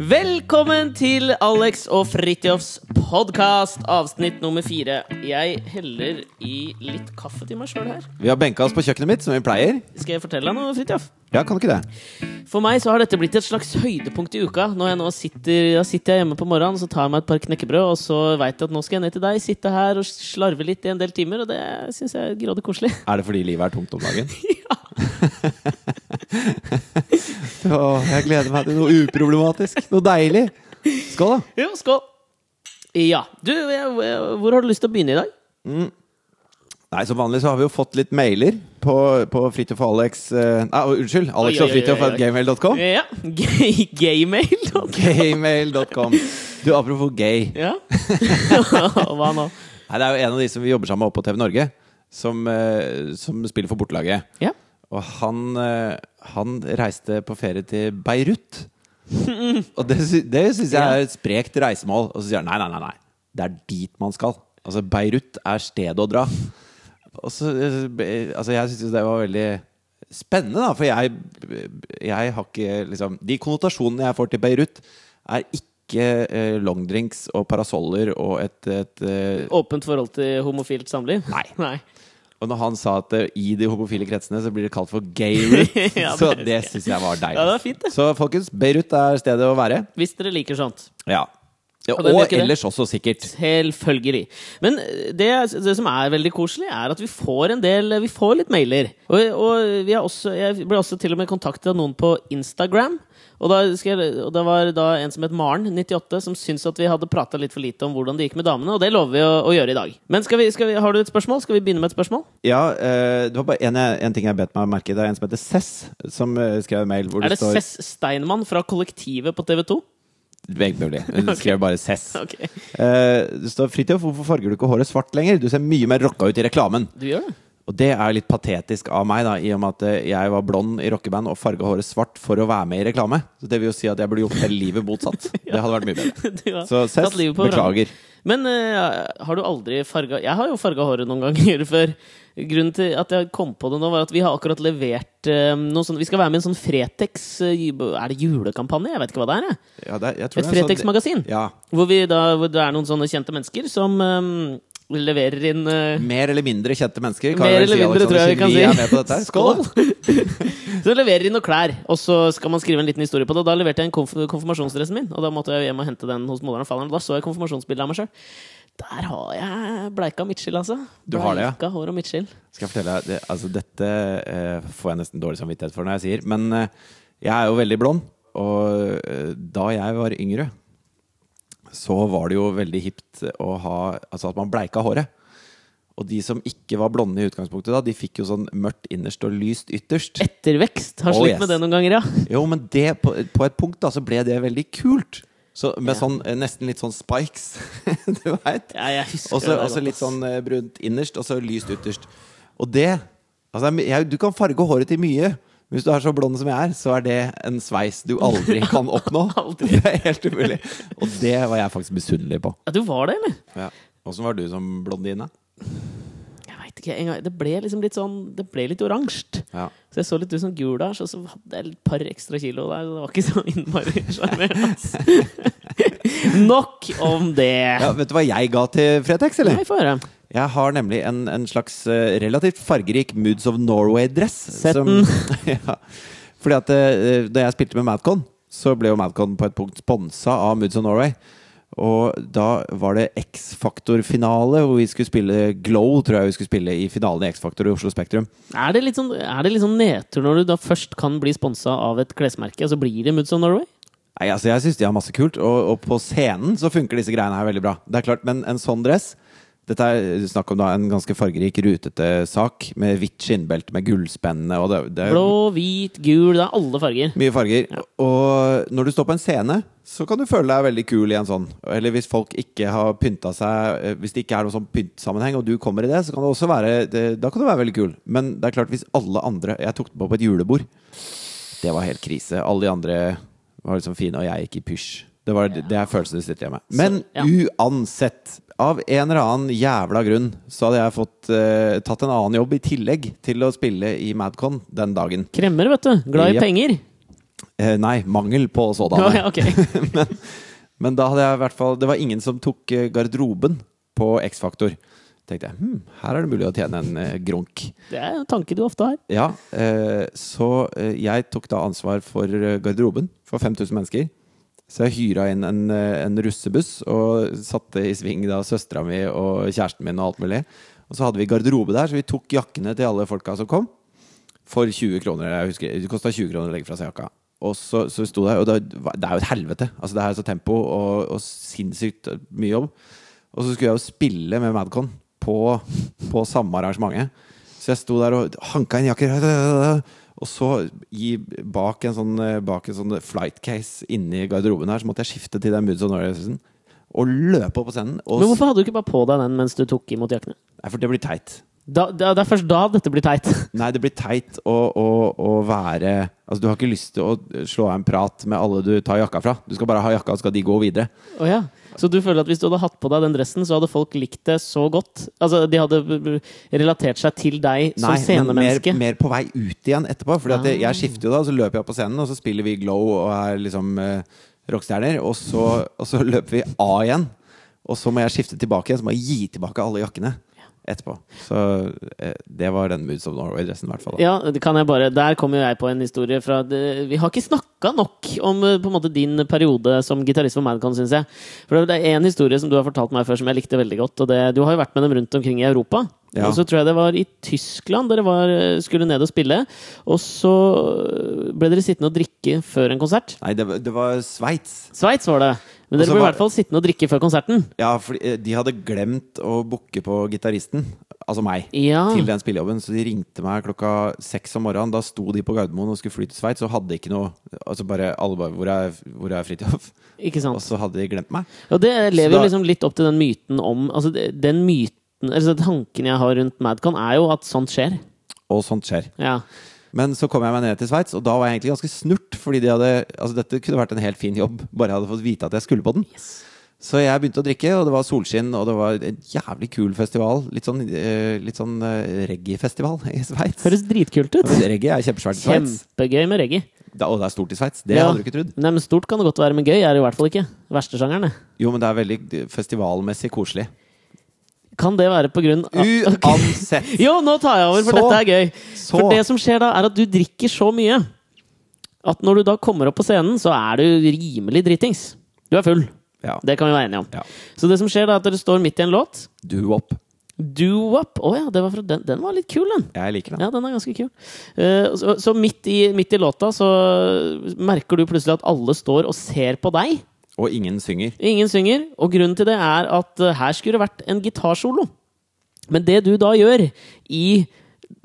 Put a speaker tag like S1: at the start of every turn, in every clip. S1: Velkommen til Alex og Fritjofs podkast, avsnitt nummer fire. Jeg heller i litt kaffe til meg sjøl her.
S2: Vi har benka oss på kjøkkenet mitt, som vi pleier.
S1: Skal jeg fortelle deg noe, Fritjof?
S2: Ja, kan du ikke det?
S1: For meg så har dette blitt et slags høydepunkt i uka. Når jeg nå sitter, da sitter jeg hjemme på morgenen, så tar jeg meg et par knekkebrød, og så veit jeg at nå skal jeg ned til deg, sitte her og slarve litt i en del timer, og det syns jeg er grådig koselig.
S2: Er det fordi livet er tungt om dagen? ja. Åh, jeg gleder meg til noe uproblematisk. Noe deilig. Skål, da.
S1: Jo, skål! Ja. Du, jeg- hvor har du lyst til å begynne i dag?
S2: Nei, Som vanlig så har vi jo fått litt mailer på, på Fridtjof og Alex eh, Nei, unnskyld. Alex
S1: Oi, oi,
S2: og Fridtjof
S1: oi, oi.
S2: at gmail.com.
S1: Ja. Gaymail.
S2: Gmail.com. Du, apropos gay.
S1: Ja. Hva nå?
S2: Nei, Det er jo en av de som vi jobber sammen med oppe på TV Norge, som, eh, som spiller for bortelaget.
S1: Ja.
S2: Og han, eh, han reiste på ferie til Beirut. Og det, sy- det syns jeg er et sprekt reisemål. Og så sier han nei, nei, nei, nei. Det er dit man skal. Altså, Beirut er stedet å dra. Og så, eh, be- altså, jeg syns det var veldig spennende, da. For jeg, jeg har ikke liksom De konnotasjonene jeg får til Beirut, er ikke eh, longdrinks og parasoller og et, et eh,
S1: Åpent forhold til homofilt samliv?
S2: Nei.
S1: Nei.
S2: Og når han sa at eh, i de homofile kretsene så blir det kalt for gayroot,
S1: Ja,
S2: så
S1: det
S2: det syns jeg var deilig.
S1: Ja, det var fint, det.
S2: Så folkens, Beirut er stedet å være.
S1: Hvis dere liker sånt.
S2: Ja. Ja,
S1: Og hvem gjør
S2: og
S1: ikke det?
S2: ellers også, sikkert.
S1: Selvfølgelig. Men eh, det, det som er veldig koselig, er at vi får en del Vi får litt mailer. Og, og vi er også, jeg ble også til og med kontaktet av noen på Instagram. Og, da skal jeg, og det var da en som het Maren98, som syntes at vi hadde prata litt for lite om hvordan det gikk med damene, og det lover vi å, å gjøre i dag. Men skal vi, skal vi, har du et spørsmål? Skal vi begynne med et spørsmål?
S2: Ja, eh, det var bare en, en ting jeg bet meg merke i. Det er en som heter Cess, som eh, skrev en mail hvor
S1: Er
S2: det,
S1: det
S2: står
S1: Cess Steinmann fra Kollektivet på TV 2?
S2: Begge mulig. Hun skrev bare Cess.
S1: Ok,
S2: Eh, det står 'Fridtjof, hvorfor farger du ikke håret svart lenger? Du ser mye mer rocka ut i reklamen'.
S1: Du gjør det?
S2: Og det er litt patetisk av meg, da, i og med at eh, jeg var blond i rockeband og farga håret svart for å være med i reklame. Så det vil jo si at jeg burde gjort hele livet motsatt. Det hadde vært mye bedre.
S1: Du har
S2: Så Cess,
S1: tatt livet på hverandre.
S2: beklager.
S1: Men eh, har du aldri farga Jeg har jo farga håret noen ganger før. Grunnen til at jeg kom på det nå, var at vi har akkurat levert eh, noe sånt Vi skal være med i en sånn Fretex eh, ju- Er det julekampanje? Jeg vet ikke hva det er. Jeg.
S2: Ja, det, er- jeg tror
S1: Et
S2: det er sånn-
S1: Fretex-magasin.
S2: Ja.
S1: Hvor, vi da- hvor det er noen sånne kjente mennesker som eh, leverer inn eh,
S2: Mer eller mindre kjente mennesker. kan
S1: mer
S2: jeg vel
S1: eller
S2: si,
S1: mindre,
S2: Alexander
S1: tror jeg vi kan si.
S2: Kielli er med på dette. her. Skål!
S1: så leverer de noen klær, og så skal man skrive en liten historie på det. Og Da leverte jeg en konf konfirmasjonsdressen min, og da måtte jeg hjem og hente den hos moderen og faderen. Og da så jeg konfirmasjonsbildet av meg sjøl. Der har jeg bleika midtskill, altså.
S2: Du har det, ja.
S1: Bleika hår og midtskill.
S2: Skal jeg fortelle deg, det, altså Dette eh, får jeg nesten dårlig samvittighet for når jeg sier, men eh, jeg er jo veldig blond. Og eh, da jeg var yngre, så var det jo veldig hipt å ha Altså at man bleika håret. Og de som ikke var blonde i utgangspunktet da, de fikk jo sånn mørkt innerst og lyst ytterst.
S1: Ettervekst har
S2: Oh,
S1: slitt
S2: yes.
S1: med det noen ganger, ja.
S2: Jo, men det, på, på et punkt da, så ble det veldig kult. Så med
S1: Ja.
S2: sånn, eh, nesten litt sånn spikes, du veit.
S1: ja jeg husker
S2: Og så
S1: det altså.
S2: og så
S1: godt,
S2: litt
S1: ass.
S2: sånn eh, brunt innerst, og så lyst ytterst. Og det altså, det er my- jeg, Du kan farge håret til mye. men Hvis du er så blond som jeg er, så er det en sveis du aldri kan oppnå.
S1: Aldri.
S2: Det er helt umulig. Og det var jeg faktisk misunnelig på.
S1: ja, Du var det, eller?
S2: Ja. Åssen var du som blondine?
S1: Jeg veit ikke engang. Det ble liksom litt sånn Det ble litt oransje.
S2: Ja.
S1: Så jeg så litt ut som gul der, så, så hadde jeg et par ekstra kilo der. så Det var ikke så innmari sjarmerende. ass. Nok om det.
S2: Ja, vet du hva jeg ga til Fretex, eller?
S1: Nei, få høre.
S2: Jeg har nemlig en, en slags eh, relativt fargerik Moods of Norway-dress.
S1: Sett
S2: som- ja. Fordi at eh, da jeg spilte med Madcon, så ble jo Madcon på et punkt sponsa av Moods of Norway. Og da var det X-Faktor-finale, hvor vi skulle spille Glow, tror jeg vi skulle spille i finalen i X-Faktor i Oslo Spektrum.
S1: Er det, litt sånn, er det litt sånn nedtur når du da først kan bli sponsa av et klesmerke, og så blir det Moods of Norway?
S2: Nei, altså Jeg syns de har masse kult, og, og på scenen så funker disse greiene her veldig bra. Det er klart, Men en sånn dress Dette er eh, snakk om da en ganske fargerik, rutete sak med hvitt skinnbelte med gullspennene og det, det,
S1: Blå, hvit, gul. Det er alle farger.
S2: Mye farger. Og når du står på en scene, så kan du føle deg veldig kul i en sånn. Eller hvis folk ikke har pynta seg eh, Hvis det ikke er noen sånn pyntsammenheng, og du kommer i det, så kan det også være det, Da kan du være veldig kul. Men det er klart, hvis alle andre Jeg tok den på på et julebord. Det var helt krise. Alle de andre var liksom fine, og jeg gikk i pysj. Det, var, det er følelsen du sitter igjen med. Men
S1: Så, ja.
S2: uansett, av en eller annen jævla grunn, så hadde jeg fått eh, tatt en annen jobb i tillegg til å spille i Madcon den dagen.
S1: Kremmer, vet du. Glad i
S2: Jep.
S1: penger.
S2: Eh, nei, mangel på sådanne.
S1: Ja, ja, ok.
S2: men, men da hadde jeg i hvert fall Det var ingen som tok eh, garderoben på X-Faktor. tenkte jeg hm, her er det mulig å tjene en eh, grunk.
S1: Det er en tanke du ofte har.
S2: Ja, eh, Så eh, jeg tok da ansvar for eh, garderoben for 5000 mennesker. Så jeg hyra inn en, eh, en russebuss og satte i sving da søstera mi og kjæresten min og alt mulig. Og så hadde vi garderobe der, så vi tok jakkene til alle folka som kom. For 20 kroner. jeg husker Det kosta 20 kroner å legge fra seg jakka. Og så, så sto det her, og det, var- det er jo et helvete. Altså Det er jo så tempo og, og sinnssykt mye jobb. Og så skulle jeg jo spille med Madcon på, på samme arrangementet. Så jeg sto der og hanka inn jakker. Og så i, bak en sånn, bak en sånn flight case inni garderoben her, så måtte jeg skifte til den Moods of Norway-dressen. Og løpe opp på scenen. Og,
S1: Men hvorfor hadde du ikke bare på deg den mens du tok imot jakkene?
S2: Nei, for det blir teit.
S1: Da, da, det er først da dette blir teit.
S2: Nei, det blir teit å, å, å være Altså, du har ikke lyst til å slå av en prat med alle du tar jakka fra. Du skal bare ha jakka, så skal de gå videre.
S1: Å ja. Så du føler at hvis du hadde hatt på deg den dressen, så hadde folk likt det så godt? Altså, de hadde b- b- relatert seg til deg som
S2: men mer,
S1: scenemenneske? Ah.
S2: mer på vei ut igjen etterpå. Fordi at jeg, jeg skifter jo da, så løper jeg på scenen, og så spiller vi Glow og er liksom eh, rockestjerner. Og så, og så løper vi av igjen. Og så må jeg skifte tilbake igjen, så må jeg gi tilbake alle jakkene etterpå. Så eh, det var den Moods of Norway-dressen, i hvert fall. da.
S1: Ja, det kan jeg bare Der kommer jo jeg på en historie fra det, Vi har ikke snakka nok om eh, på en måte din periode som gitarist for Madcon, syns jeg. For det er én historie som du har fortalt meg før som jeg likte veldig godt. Og det, du har jo vært med dem rundt omkring i Europa.
S2: Ja.
S1: Og så tror jeg det var i Tyskland dere var, eh, skulle ned og spille. Og så eh, ble dere sittende og drikke før en konsert.
S2: Nei, det, var- det var Sveits.
S1: Sveits var det. Men
S2: Og
S1: dere
S2: så
S1: ble i
S2: var-
S1: hvert fall sittende og drikke før konserten.
S2: Ja, for de hadde glemt å booke på gitaristen, altså meg,
S1: Ja.
S2: til den spillejobben. Så de ringte meg klokka seks om morgenen. Da sto de på Gardermoen og skulle fly til Sveits og hadde ikke noe Altså bare alle bare Hvor er, hvor er Fridtjof?
S1: Ikke
S2: Og
S1: sant?
S2: så hadde de glemt meg.
S1: Og det lever
S2: Så
S1: jo
S2: da-
S1: liksom litt opp til den myten om Altså det- den myten Altså tanken jeg har rundt Madcon, er jo at sånt skjer.
S2: Og sånt skjer.
S1: Ja.
S2: Men så kom jeg meg ned til Sveits, og da var jeg egentlig ganske snurt. Fordi de hadde Altså dette kunne vært en helt fin jobb, bare jeg hadde fått vite at jeg skulle på den. Så jeg begynte å drikke, og det var solskinn, og det var en jævlig kul festival. Litt sånn, eh, litt sånn eh, reggae-festival i Sveits.
S1: Høres dritkult ut.
S2: Reggae er kjempesvært i Sveits.
S1: Kjempegøy med reggae.
S2: Det, og det er stort i Sveits. Det
S1: Ja.
S2: hadde du ikke trodd.
S1: Nei, men stort kan det godt være, men gøy er det i hvert fall ikke. Verste sjangeren, det.
S2: Jo, men det er veldig festivalmessig koselig.
S1: Kan det være på grunn av
S2: Uansett!
S1: Jo, nå tar jeg over, for
S2: Så-
S1: dette er gøy. For
S2: så-
S1: det som skjer da, er at du drikker så mye at når du da kommer opp på scenen, så er du rimelig dritings. Du er full.
S2: Ja.
S1: Det kan vi være enige om.
S2: Ja.
S1: Så det som skjer da, er at dere står midt i en låt.
S2: Do up.
S1: Doo-wop. Å ja, det var fra den. den var litt kul, den.
S2: Jeg liker den.
S1: Ja, den er ganske kul. Eh, så så midt, i, midt i låta så merker du plutselig at alle står og ser på deg.
S2: Og ingen synger.
S1: Ingen synger, og grunnen til det er at eh, her skulle det vært en gitarsolo. Men det du da gjør i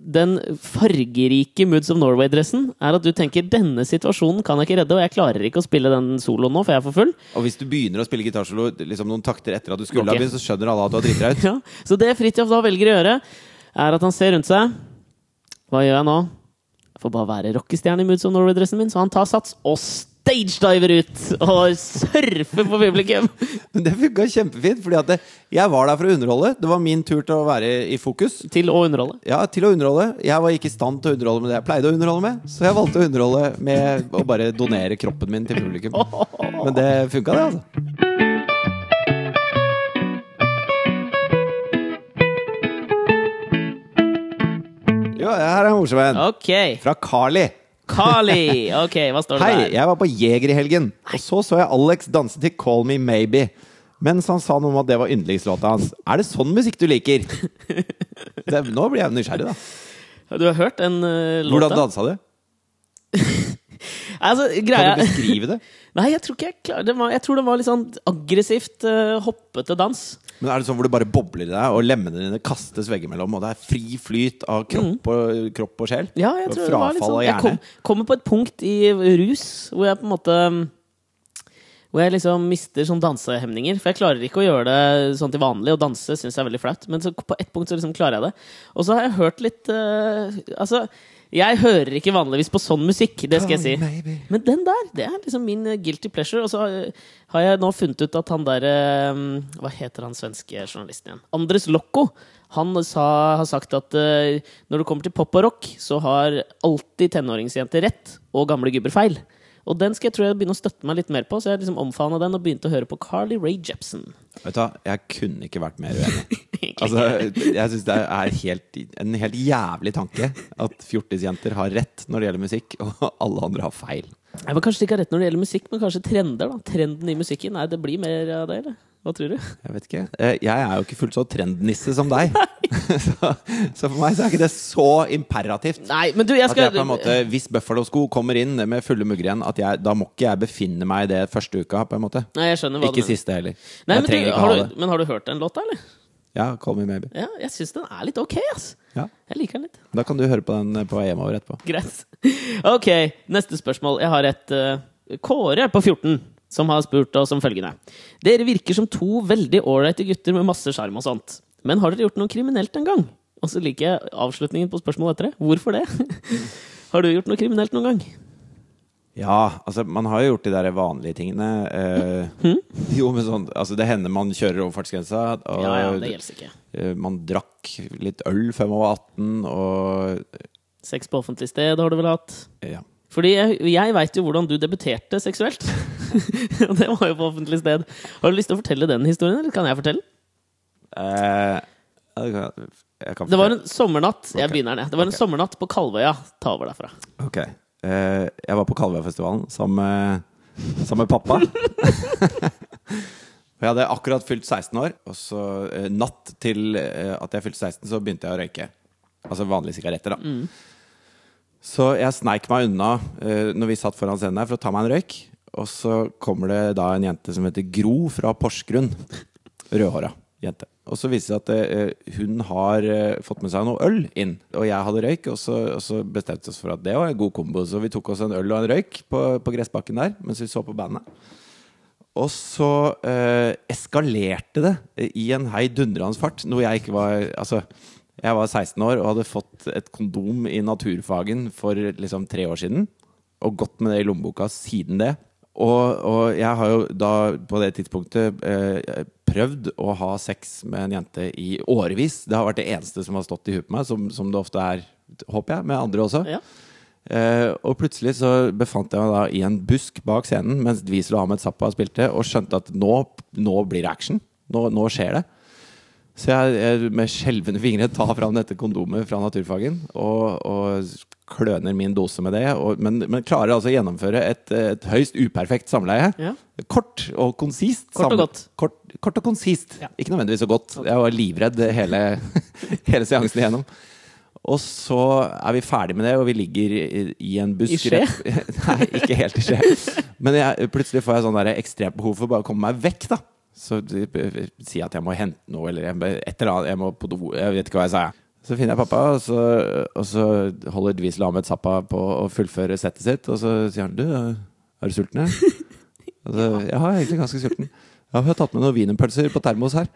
S1: den fargerike Moods of Norway-dressen, er at du tenker denne situasjonen kan jeg ikke redde, og jeg klarer ikke å spille den soloen nå, for jeg er for full.
S2: Og hvis du begynner å spille gitarsolo liksom noen takter etter at du skulle
S1: Ok.
S2: ha begynt, så skjønner alle at du har driti deg ut.
S1: Ja. Så det Fridtjof da velger å gjøre, er at han ser rundt seg. Hva gjør jeg nå? Jeg får bare være rockestjerne i Moods of Norway-dressen min, så han tar sats og stagediver ut! Og surfer på publikum!
S2: Men det funka kjempefint, fordi at det, jeg var der for å underholde. Det var min tur til å være i fokus.
S1: Til å underholde.
S2: Ja, til å underholde. Jeg var ikke i stand til å underholde med det jeg pleide å underholde med, så jeg valgte å underholde med å bare donere kroppen min til publikum. Men det funka, det, altså. Jo, her er en morsom en.
S1: Ok.
S2: Fra Carly.
S1: Kali! Ok, hva står det
S2: Hei,
S1: der?
S2: jeg var på Jeger i helgen, og så så jeg Alex danse til Call Me Maybe. Mens han sa noe om at det var yndlingslåta hans. Er det sånn musikk du liker? Det, nå blir jeg nysgjerrig, da.
S1: Du har hørt den uh, låta?
S2: Hvordan dansa du?
S1: Altså,
S2: Kan du
S1: greia
S2: beskrive det?
S1: Nei, jeg tror ikke jeg klarer det. Var, jeg tror det var litt sånn aggressivt, eh, hoppete dans.
S2: Men er det sånn hvor du bare bobler i deg, og lemmene dine kastes veggimellom, og det er fri flyt av kropp og, kropp og sjel?
S1: Ja, jeg
S2: Og
S1: tror det var litt
S2: Frafall
S1: sånn.
S2: av
S1: Jeg
S2: hjerne?
S1: kom, kommer på et punkt i rus hvor jeg på en måte mm, Hvor jeg liksom mister sånn dansehemninger. For jeg klarer ikke å gjøre det sånn til vanlig. Og danse syns jeg er veldig flaut. Men så på ett punkt så liksom klarer jeg det. Og så har jeg hørt litt eh, Altså, jeg hører ikke vanligvis på sånn musikk, det skal jeg si.
S2: Maybe.
S1: Men den der, det er liksom min eh, guilty pleasure. Og så eh, har jeg nå funnet ut at han der eh, Hva heter han svenske journalisten igjen? Andres Lokko. Han sa, har sagt at eh, når det kommer til pop og rock, så har alltid tenåringsjenter rett, og gamle gubber feil. Og den skal jeg tror jeg begynne å støtte meg litt mer på, så jeg liksom omfavna den og begynte å høre på Carly Rae Jepsen.
S2: Vet du hva, jeg kunne ikke vært mer uenig. Altså, jeg syns det er helt, en helt jævlig tanke at fjortisjenter har rett når det gjelder musikk, og alle andre har feil.
S1: Jeg var kanskje ikke rett når det gjelder musikk, men kanskje trender, da. Trenden i musikken. Nei, det blir mer av det, eller? Hva tror du?
S2: Jeg vet ikke. Eh, Jeg er jo ikke fullt så trendnisse som deg. så, så for meg så er ikke det så imperativt.
S1: Nei, men du, jeg
S2: At jeg
S1: skal
S2: på en måte, Hvis Buffalo-sko kommer inn med fulle mugger igjen, at jeg, da må ikke jeg befinne meg i det første uka. på en måte
S1: Nei, jeg skjønner hva
S2: Ikke
S1: du mener.
S2: siste heller.
S1: Nei,
S2: jeg
S1: men,
S2: trenger
S1: du,
S2: ikke
S1: har
S2: ha
S1: du,
S2: det.
S1: men har du hørt den låta, eller?
S2: Ja, call me maybe.
S1: Ja, jeg syns den er litt ok, ass.
S2: Ja.
S1: Jeg liker den litt.
S2: Da kan du høre på den eh, på vei hjemover etterpå.
S1: Greit. Ok, neste spørsmål. Jeg har et eh, Kåre på 14 som har spurt oss om følgende. Dere virker som to veldig ålreite gutter med masse sjarm og sånt. Men har dere gjort noe kriminelt en gang? Og så liker jeg avslutningen på spørsmålet etter det. Hvorfor det? Har du gjort noe kriminelt noen gang?
S2: Ja, altså man har jo gjort de der vanlige tingene. Eh, jo, men sånn Altså det hender man kjører over fartsgrensa. Og
S1: Mm. Ja, ja, det gjelder ikke.
S2: eh, man drakk litt øl før man var 18, og
S1: Sex på offentlig sted har du vel hatt?
S2: eh, ja.
S1: Fordi jeg, jeg veit jo hvordan du debuterte seksuelt. Og det var jo på offentlig sted. Har du lyst til å fortelle den historien, eller kan jeg fortelle? den?
S2: Eh, ja, det kan- jeg kan
S1: Det var
S2: fortelle.
S1: en sommernatt Jeg
S2: Ok.
S1: begynner den, jeg. Det var en
S2: Ok.
S1: sommernatt på Kalvøya. Ta over derfra.
S2: Ok. Eh, jeg var på Kalvøyfestivalen sammen med, sammen med pappa. Og jeg hadde akkurat fylt 16 år, og så eh, natt til eh, at jeg fylte 16, så begynte jeg å røyke. Altså vanlige sigaretter, da. Så jeg sneik meg unna eh, når vi satt foran scenen her for å ta meg en røyk. Og så kommer det da en jente som heter Gro fra Porsgrunn. Rødhåra jente. Og så viser det seg at eh, hun har eh, fått med seg noe øl inn. Og jeg hadde røyk, og så, og så bestemte vi oss for at det var en god kombo. Så vi tok oss en øl og en røyk på, på gressbakken der mens vi så på bandet. Og så eh, eskalerte det i en heidundrende fart, noe jeg ikke var Altså, jeg var 16 år og hadde fått et kondom i naturfagen for liksom tre år siden. Og gått med det i lommeboka siden det. Og, og jeg har jo da på det tidspunktet eh, prøvd å ha sex med en jente i årevis. Det har vært det eneste som har stått i huet på meg, som, som det ofte er, håper jeg, med andre også.
S1: Ja.
S2: Eh, og plutselig så befant jeg meg da i en busk bak scenen mens Diesel og Ahmed Zappa spilte, og skjønte at nå, nå blir det action. Nå, nå skjer det. Så jeg, jeg med skjelvende fingre tar fram dette kondomet fra naturfagen og, og kløner min dose med det. Og, men, men klarer altså å gjennomføre et, et høyst uperfekt samleie.
S1: Ja.
S2: Kort og konsist.
S1: Kort og
S2: samle-
S1: godt.
S2: Kort, kort og konsist.
S1: Ja.
S2: Ikke nødvendigvis så godt. Jeg var livredd hele, hele seansen igjennom. Og så er vi ferdig med det, og vi ligger i, i en busk.
S1: I skje?
S2: rett- Nei, ikke helt i skje. Men jeg, plutselig får jeg sånn der ekstremt behov for å bare komme meg vekk, da. Så de- si at jeg må hente noe, eller jeg, må- et eller annet. Jeg må på do. Jeg vet ikke hva jeg sa. jeg. Så finner jeg pappa, og så, og så holder Dvis Lamet Zappa på å fullføre settet sitt. Og så sier han Du, er du sulten? eller?» Og så, jeg er egentlig ganske sulten. Ja, vi har tatt med noen wienerpølser på termos her.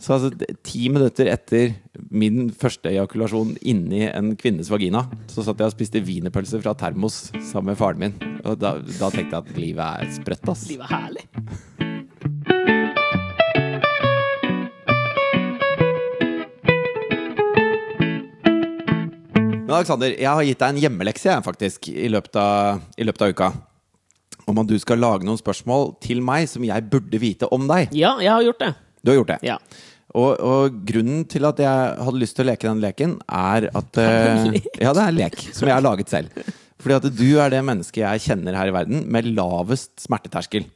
S2: Så altså, d- ti minutter etter min første ejakulasjon inni en kvinnes vagina, så satt jeg og spiste wienerpølser fra termos sammen med faren min. Og da, da tenkte jeg at livet er sprøtt, ass.
S1: Livet er herlig.
S2: Men Alexander, jeg har gitt deg en hjemmelekse, jeg, faktisk, i løpet av, i løpet av uka. Om at du skal lage noen spørsmål til meg som jeg burde vite om deg.
S1: Ja, jeg har gjort det.
S2: Du har gjort det.
S1: Ja.
S2: Og, og grunnen til at jeg hadde lyst til å leke den leken, er at eh, Ja, det er en lek som jeg har laget selv. Fordi at du er det mennesket jeg kjenner her i verden med lavest smerteterskel.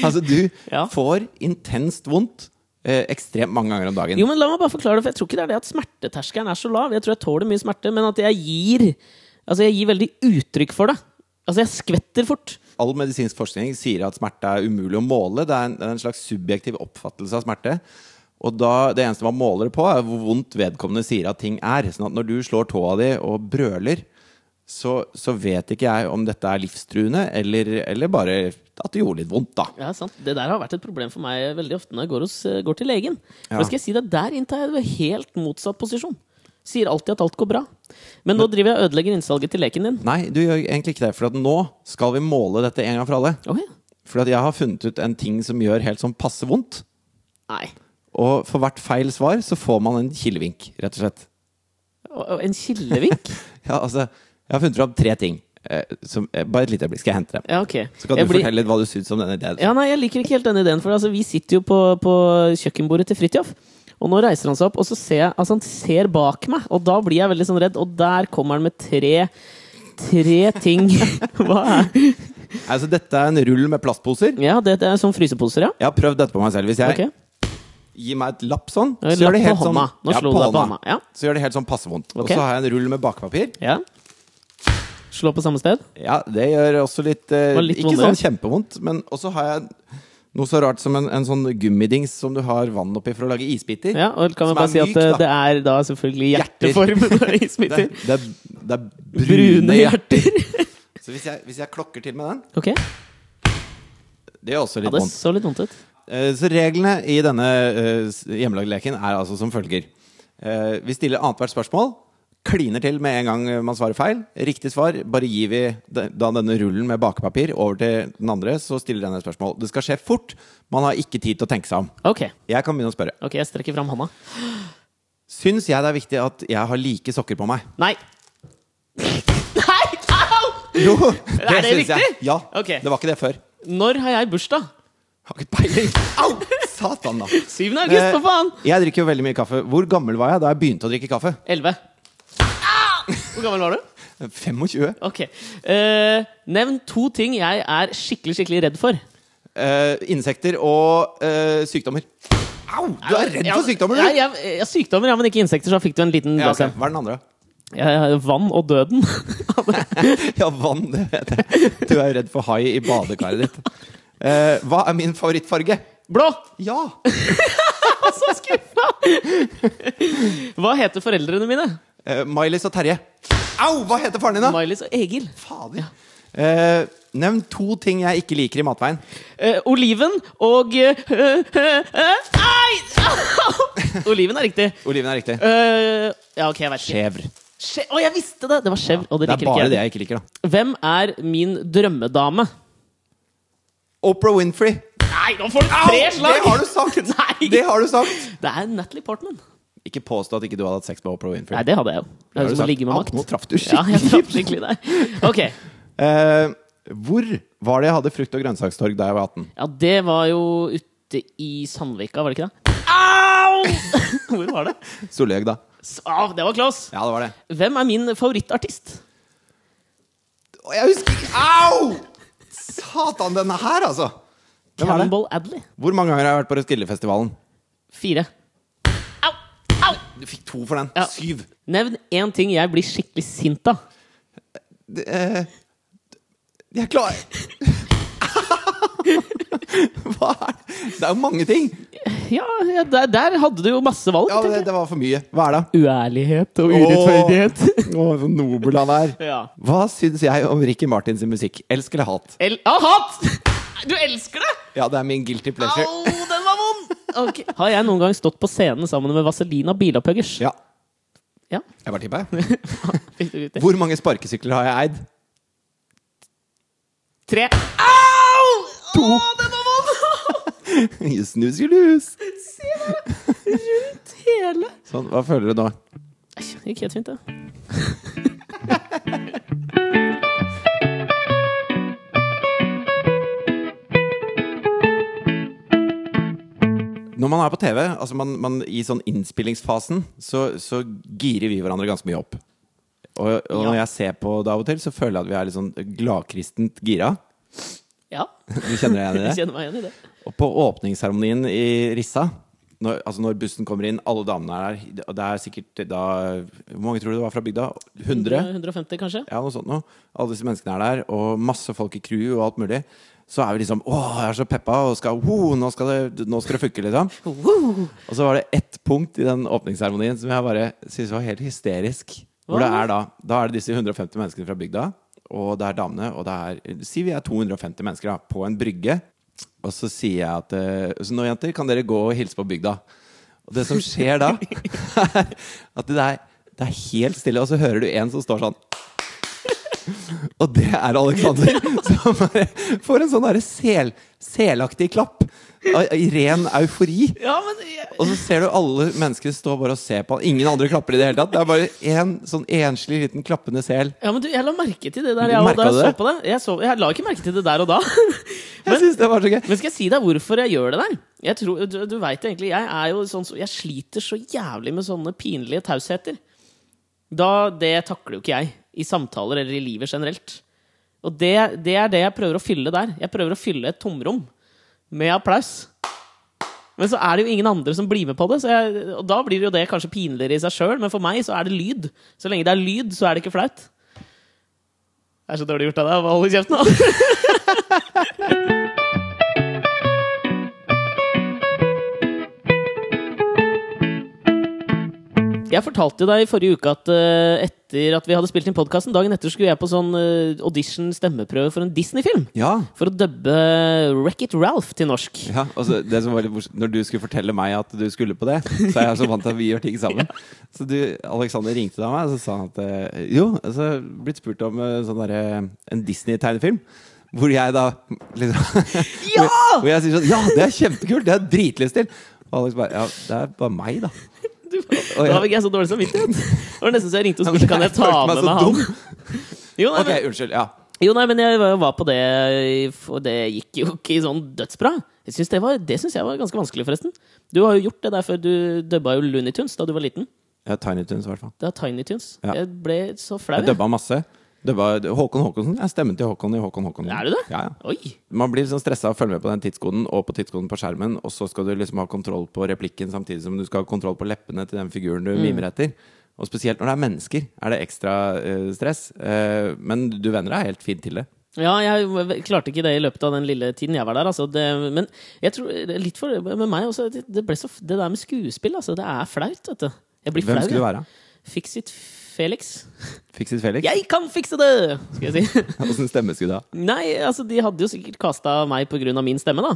S2: altså, du
S1: Ja.
S2: får intenst vondt eh, ekstremt mange ganger om dagen.
S1: Jo, men La meg bare forklare det, for jeg tror ikke det er det at smerteterskelen er så lav. Jeg tror jeg tåler mye smerte, men at jeg gir Altså, jeg gir veldig uttrykk for det. Altså, jeg skvetter fort.
S2: All medisinsk forskning sier at smerte er umulig å måle. Det er en, det er en slags subjektiv oppfattelse av smerte. Og da, Det eneste man måler det på, er hvor vondt vedkommende sier at ting er. Sånn at Når du slår tåa di og brøler, så, så vet ikke jeg om dette er livstruende eller, eller bare at det gjorde litt vondt, da.
S1: Ja, sant. Det der har vært et problem for meg veldig ofte når jeg går, hos, eh, går til legen. For
S2: Ja.
S1: da skal jeg si deg, Der inntar jeg en helt motsatt posisjon. Sier alltid at alt går bra. Men nå driver jeg og ødelegger innsalget til leken din.
S2: Nei, du gjør egentlig ikke det. For at nå skal vi måle dette en gang for alle.
S1: Å, ja.
S2: For at jeg har funnet ut en ting som gjør helt sånn passe vondt.
S1: Nei.
S2: Og for hvert feil svar så får man en kilevink, rett og slett.
S1: Å, å, En kildevink?
S2: Ja, altså, jeg har funnet fram tre ting. eh, som, eh, Bare et lite øyeblikk, skal jeg hente dem.
S1: Ja, ok.
S2: Så kan
S1: Jeg
S2: du
S1: blir-
S2: fortelle litt hva du syns om den ideen.
S1: Ja, nei, jeg liker ikke helt den ideen, for altså, vi sitter jo på, på kjøkkenbordet til Fridtjof. Og nå reiser han seg opp, og så ser jeg, altså, han ser bak meg, og da blir jeg veldig sånn redd. Og der kommer han med tre Tre ting. Hva er
S2: Altså, dette er en rull med plastposer.
S1: Ja, det, det er sånn fryseposer, ja.
S2: Jeg har prøvd dette på meg selv. Hvis jeg
S1: Ok.
S2: gir meg et lapp sånn,
S1: Ja,
S2: så gjør
S1: lapp
S2: det helt
S1: på
S2: sånn
S1: hånda. Nå slo du deg på hånda, ja.
S2: Så gjør det helt sånn passe vondt. Og
S1: Ok.
S2: så har jeg en rull med bakepapir.
S1: ja. Slå på samme sted?
S2: Ja, det gjør også litt, eh,
S1: Var litt
S2: Ikke
S1: vondere.
S2: sånn kjempevondt, men også har jeg noe så rart som en, en sånn gummidings som du har vann oppi for å lage isbiter.
S1: Ja, og kan vi
S2: Som
S1: bare
S2: er
S1: si at
S2: myk,
S1: eh,
S2: da.
S1: det er da selvfølgelig
S2: Hjerter.
S1: hjerteformen av ismitter.
S2: Det, det, er- det er brune,
S1: Brune
S2: hjerter.
S1: hjerter.
S2: Så hvis jeg, hvis jeg klokker til med den
S1: Ok,
S2: Det gjør også
S1: ja,
S2: litt
S1: det
S2: vondt.
S1: så litt vondt ut.
S2: Eh, Så reglene i denne eh, s- hjemmelagde leken er altså som følger. Eh, Vi stiller annethvert spørsmål. Kliner til med en gang eh, man svarer feil. Riktig svar bare gir vi de- da denne rullen med bakepapir over til den andre, så stiller den et spørsmål. Det skal skje fort. Man har ikke tid til å tenke seg om.
S1: Ok,
S2: Jeg kan begynne å spørre.
S1: ok, jeg strekker fram hånda.
S2: Syns jeg det er viktig at jeg har like sokker på meg?
S1: Nei! Nei! Au!
S2: Jo,
S1: Er det
S2: syns jeg.
S1: riktig?
S2: Ja.
S1: Ok.
S2: Det var ikke det før.
S1: Når har jeg bursdag?
S2: Har ikke peiling. Au! Satan, da.
S1: 7. august, for faen!
S2: Eh, Jeg drikker jo veldig mye kaffe. Hvor gammel var jeg da jeg begynte å drikke kaffe?
S1: 11. Hvor gammel var du?
S2: 25.
S1: Ok. Eh, nevn to ting jeg er skikkelig skikkelig redd for.
S2: Eh, insekter og eh, sykdommer. Au! Du er redd for sykdommer,
S1: Ja,
S2: du!
S1: jeg, jeg, sykdommer, ja, men ikke insekter, så da fikk du en liten
S2: Ja, ok.
S1: blåse.
S2: Hva er den andre?
S1: Ja, vann og døden.
S2: Ja, vann. Det vet jeg. Du er jo redd for hai i badekaret ditt. Eh, hva er min favorittfarge?
S1: Blå!
S2: Ja!
S1: Så skuffa! Hva heter foreldrene mine?
S2: Eh, Mailis og Terje. Au! Hva heter faren din, da?
S1: Mailis og Egil.
S2: Fader. Eh, nevn to ting jeg ikke liker i matveien.
S1: Eh, oliven og eh, eh, eh, eh, Nei! Oliven er riktig.
S2: Oliven er riktig.
S1: Eh, ja, ok, jeg vet ikke.
S2: Skjevr.
S1: Skje- Å, jeg visste det! Det var skjev. og det,
S2: Det er
S1: liker ikke
S2: bare
S1: jeg.
S2: det jeg ikke liker, da.
S1: Hvem er min drømmedame?
S2: Oprah Winfrey.
S1: Nei, nå får du
S2: Au!
S1: tre slag!
S2: Det har du sagt!
S1: Nei!
S2: Det har du sagt!
S1: Det er Natalie Portman.
S2: Ikke påstå at ikke du hadde hatt sex med Oprah Winfrey.
S1: Nei, det hadde jeg jo. Det
S2: Har
S1: er
S2: du
S1: jo som å
S2: sagt,
S1: ligge med
S2: «Au,
S1: makt.
S2: Nå traff du
S1: Ja, jeg
S2: skikkelig.
S1: traff skikkelig der. Ok.
S2: Eh, hvor var det jeg hadde frukt- og grønnsakstorg da jeg var 18?
S1: Ja, det var jo ute i Sandvika, var det ikke det? Au! Hvor var det?
S2: Solhaug, da.
S1: S- Au, det var close.
S2: Ja, det var det.
S1: Hvem er min favorittartist?
S2: Å, jeg husker ikke Au! Satan, denne her, altså! Hvem er det?
S1: Campbell Adley.
S2: Hvor mange ganger har jeg vært på Roskildefestivalen?
S1: Fire. Au! Au!
S2: Du fikk to for den.
S1: Ja.
S2: Syv.
S1: Nevn én ting jeg blir skikkelig sint av.
S2: Det, eh, jeg klarer Hva er det? Det er jo mange ting.
S1: Ja, ja der, der hadde du jo masse valg.
S2: Ja,
S1: tenker
S2: det,
S1: jeg.
S2: det var for mye. Hva er det?
S1: Uærlighet og urettferdighet.
S2: Å, så nobel han er.
S1: Ja.
S2: Hva syns jeg om Ricky Martins musikk? Elsk eller hat?
S1: El ah, hat! Du elsker det!
S2: Ja, det er min guilty pleasure.
S1: Au, den var vond! Ok. Har jeg noen gang stått på scenen sammen med Vaselina Bilopphuggers?
S2: Ja,
S1: Ja.
S2: jeg bare tippa, jeg.
S1: Fikk du ut det?
S2: Hvor mange sparkesykler har jeg eid?
S1: Tre. Au! To. Å, den var vond!
S2: Snuselus!
S1: Se her! Rundt hele
S2: Sånn, hva føler du nå?
S1: Ei, Det gikk helt fint, det.
S2: Når man er på TV, altså man, man, i sånn innspillingsfasen, så, så girer vi hverandre ganske mye opp. Og, og når jeg ser på det av og til, så føler jeg at vi er litt sånn gladkristent gira.
S1: Ja.
S2: Du kjenner
S1: Jeg
S2: deg igjen i det?
S1: kjenner meg igjen i det.
S2: Og på åpningsseremonien i Rissa, når, altså når bussen kommer inn, alle damene er der, og det er sikkert da Hvor mange tror du det var fra bygda? 100?
S1: 150, kanskje?
S2: Ja, noe sånt noe. Alle disse menneskene er der, og masse folk i crew og alt mulig. Så er vi liksom Å, jeg er så peppa, og skal Wow, nå skal det, nå skal det funke, liksom.
S1: Woo!
S2: Og så var det ett punkt i den åpningsseremonien som jeg bare syntes var helt hysterisk. Hvor det
S1: Hva?
S2: er da Da er det disse 150 menneskene fra bygda, og det er damene, og det er Si vi er 250 mennesker da, på en brygge, og så sier jeg at eh, Så nå, jenter, kan dere gå og hilse på bygda. Og det som skjer da, er at det er, det er helt stille, og så hører du en som står sånn. Og Og det er Alexander som bare får en sånn derre sel, selaktig klapp. av- I ren eufori.
S1: Ja, men jeg-
S2: Og så ser du alle mennesker stå bare og se på han. Ingen andre klapper i det hele tatt. Det er bare én sånn enslig liten klappende sel.
S1: Ja, men du, jeg la merke til det der.
S2: Du
S1: Jeg, og da
S2: merket
S1: jeg så
S2: det?
S1: på det. Jeg, så, jeg la ikke merke til det der og da.
S2: Jeg
S1: men,
S2: synes det var så gøy.
S1: men skal jeg si deg hvorfor jeg gjør det der? Jeg tror, du du veit egentlig, jeg er jo sånn som- Jeg sliter så jævlig med sånne pinlige tausheter. Da, det takler jo ikke jeg i samtaler eller i livet generelt. Og det, det er det jeg prøver å fylle der. Jeg prøver å fylle et tomrom med applaus. Men så er det jo ingen andre som blir med på det, så jeg, og da blir jo det kanskje pinligere i seg sjøl. Men for meg så er det lyd. Så lenge det er lyd, så er det ikke flaut. Det er så dårlig gjort av deg å holde kjeft nå. Jeg fortalte jo deg i forrige uke at eh, etter at vi hadde spilt inn podkasten, dagen etter skulle jeg på sånn eh, audition stemmeprøve for en Disney-film.
S2: Ja.
S1: For å dubbe Wreck-It Ralph til norsk.
S2: Ja, altså det som var litt morsomt Når du skulle fortelle meg at du skulle på det, så er jeg så vant til at vi gjør ting sammen. Så du, Alexander ringte da meg og så sa han at eh, jo, altså blitt spurt om eh, sånn derre en Disney-tegnefilm. Hvor jeg da liksom
S1: Ja!
S2: hvor, hvor jeg sier sånn Ja, det er kjempekult! Det har jeg dritlyst til! Og Alex bare Ja, det er bare meg, da.
S1: Du, da fikk jeg så dårlig samvittighet. Det var nesten så jeg ringte og
S2: Ja, men
S1: spurte kan jeg ta
S2: følte meg
S1: med
S2: så
S1: meg han.
S2: dum.
S1: Jo, nei,
S2: Ok,
S1: men,
S2: unnskyld. Ja.
S1: jo, nei, men jeg var- var på det, og det gikk jo ikke sånn dødsbra. Jeg synes det var- det syns jeg var ganske vanskelig, forresten. Du har jo gjort det der før. Du dubba jo Looney Tunes da du var liten.
S2: ja Tiny Tunes, i hvert fall.
S1: Det var Tiny Tunes.
S2: Ja.
S1: Jeg ble så flau.
S2: Jeg
S1: jeg.
S2: dubba masse. Dubba Håkon Håkonsen. Jeg stemmen til Håkon i Håkon Håkonsen.
S1: Er du det?
S2: Ja, ja.
S1: Oi!
S2: Man blir sånn stressa av å følge med på den tidskoden og på tidskoden på skjermen, og så skal du liksom ha kontroll på replikken samtidig som du skal ha kontroll på leppene til den figuren du
S1: Mm.
S2: mimer etter. Og spesielt når det er mennesker, er det ekstra eh, stress. Eh, men du venner deg helt fint til det.
S1: Ja, jeg v- klarte ikke det i løpet av den lille tiden jeg var der. Altså. Det, men jeg tror litt for med meg også Det, det, ble så, f- det der med skuespill, altså. Det er flaut, vet du. Jeg blir
S2: Hvem
S1: flau.
S2: skulle du
S1: jeg.
S2: være?
S1: Fix it, Felix.
S2: Fikset Felix?
S1: Jeg kan fikse det! Skal jeg si.
S2: Åssen stemme skulle du ha?
S1: Nei, altså, de hadde jo sikkert kasta meg pga. min stemme, da.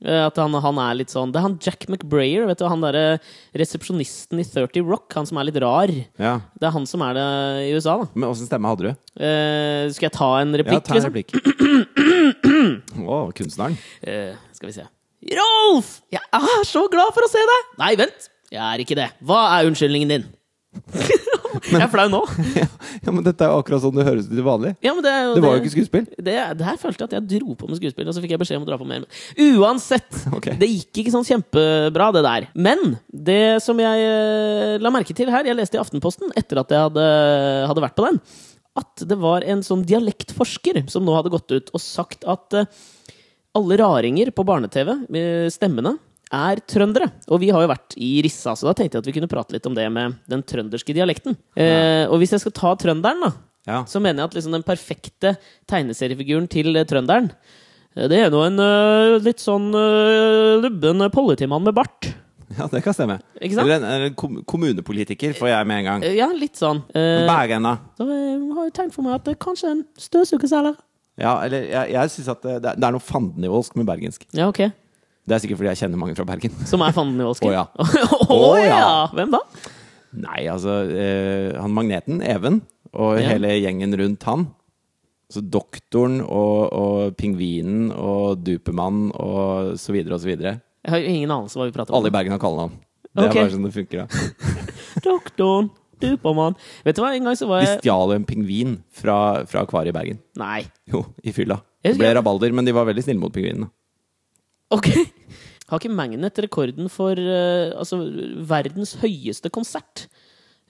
S1: Eh, At han, han er litt sånn Det er han Jack McBrayer, vet du, han derre resepsjonisten i 30 Rock, han som er litt rar.
S2: Ja.
S1: Det er han som er det i USA, da.
S2: Men åssen stemme hadde du?
S1: Eh, skal jeg ta en replikk,
S2: Ja, ta en
S1: liksom?
S2: replikk. Å, kunstneren.
S1: Eh, skal vi se. Rolf! Jeg er så glad for å se deg! Nei, vent! Jeg er ikke det. Hva er unnskyldningen din? jeg er flau nå.
S2: Ja, men dette er jo akkurat sånn det høres ut til vanlig.
S1: Ja, men det, er
S2: Det var jo ikke skuespill.
S1: det, det her følte jeg at jeg dro på med skuespill, og så fikk jeg beskjed om å dra på mer. Men Uansett,
S2: Ok.
S1: det gikk ikke sånn kjempebra, det der. Men det som jeg eh, la merke til her, jeg leste i Aftenposten etter at jeg hadde, hadde vært på den, at det var en sånn dialektforsker som nå hadde gått ut og sagt at eh, alle raringer på barne-TV, eh, stemmene, er trøndere. Og vi har jo vært i Rissa, så da tenkte jeg at vi kunne prate litt om det med den trønderske dialekten. Eh, og hvis jeg skal ta trønderen, da,
S2: Ja.
S1: så mener jeg at liksom den perfekte tegneseriefiguren til eh, trønderen eh, Det er nå en eh, litt sånn eh, lubben politimann med bart.
S2: ja, det kan stemme.
S1: Ikke sant?
S2: Eller en, eller en kom kommunepolitiker får jeg med en gang.
S1: Eh, Ja, litt sånn. Eh,
S2: Bergen, da.
S1: Så eh, har jeg tegnet for meg at det kanskje er en støvsugerselger.
S2: Ja, eller jeg, jeg synes at eh, det, det er- det er noe fandenivoldsk med bergensk.
S1: Ja, ok.
S2: Det er sikkert fordi jeg kjenner mange fra Bergen.
S1: Som er fanden i Åsken.
S2: Å ja.
S1: Å
S2: Å
S1: ja!
S2: ja.
S1: Hvem da?
S2: Nei, altså eh, Han magneten, Even, og
S1: Ja.
S2: hele gjengen rundt han. Så doktoren og, og pingvinen og Dupemann og så videre og så videre.
S1: Jeg har jo ingen anelse hva vi prater om.
S2: Alle i Bergen har kallenavn.
S1: Ok.
S2: Det
S1: Eh.
S2: er bare sånn det funker. da
S1: Doktoren, Dupermann Vet du hva, en gang så var
S2: De
S1: jeg
S2: stjal jo en pingvin fra, fra akvariet i Bergen.
S1: Nei.
S2: Jo, i fylla.
S1: Jeg
S2: Det
S1: husker-
S2: ble rabalder, men de var veldig snille mot pingvinene.
S1: Ok. Har ikke Magnet rekorden for eh, altså, verdens høyeste konsert?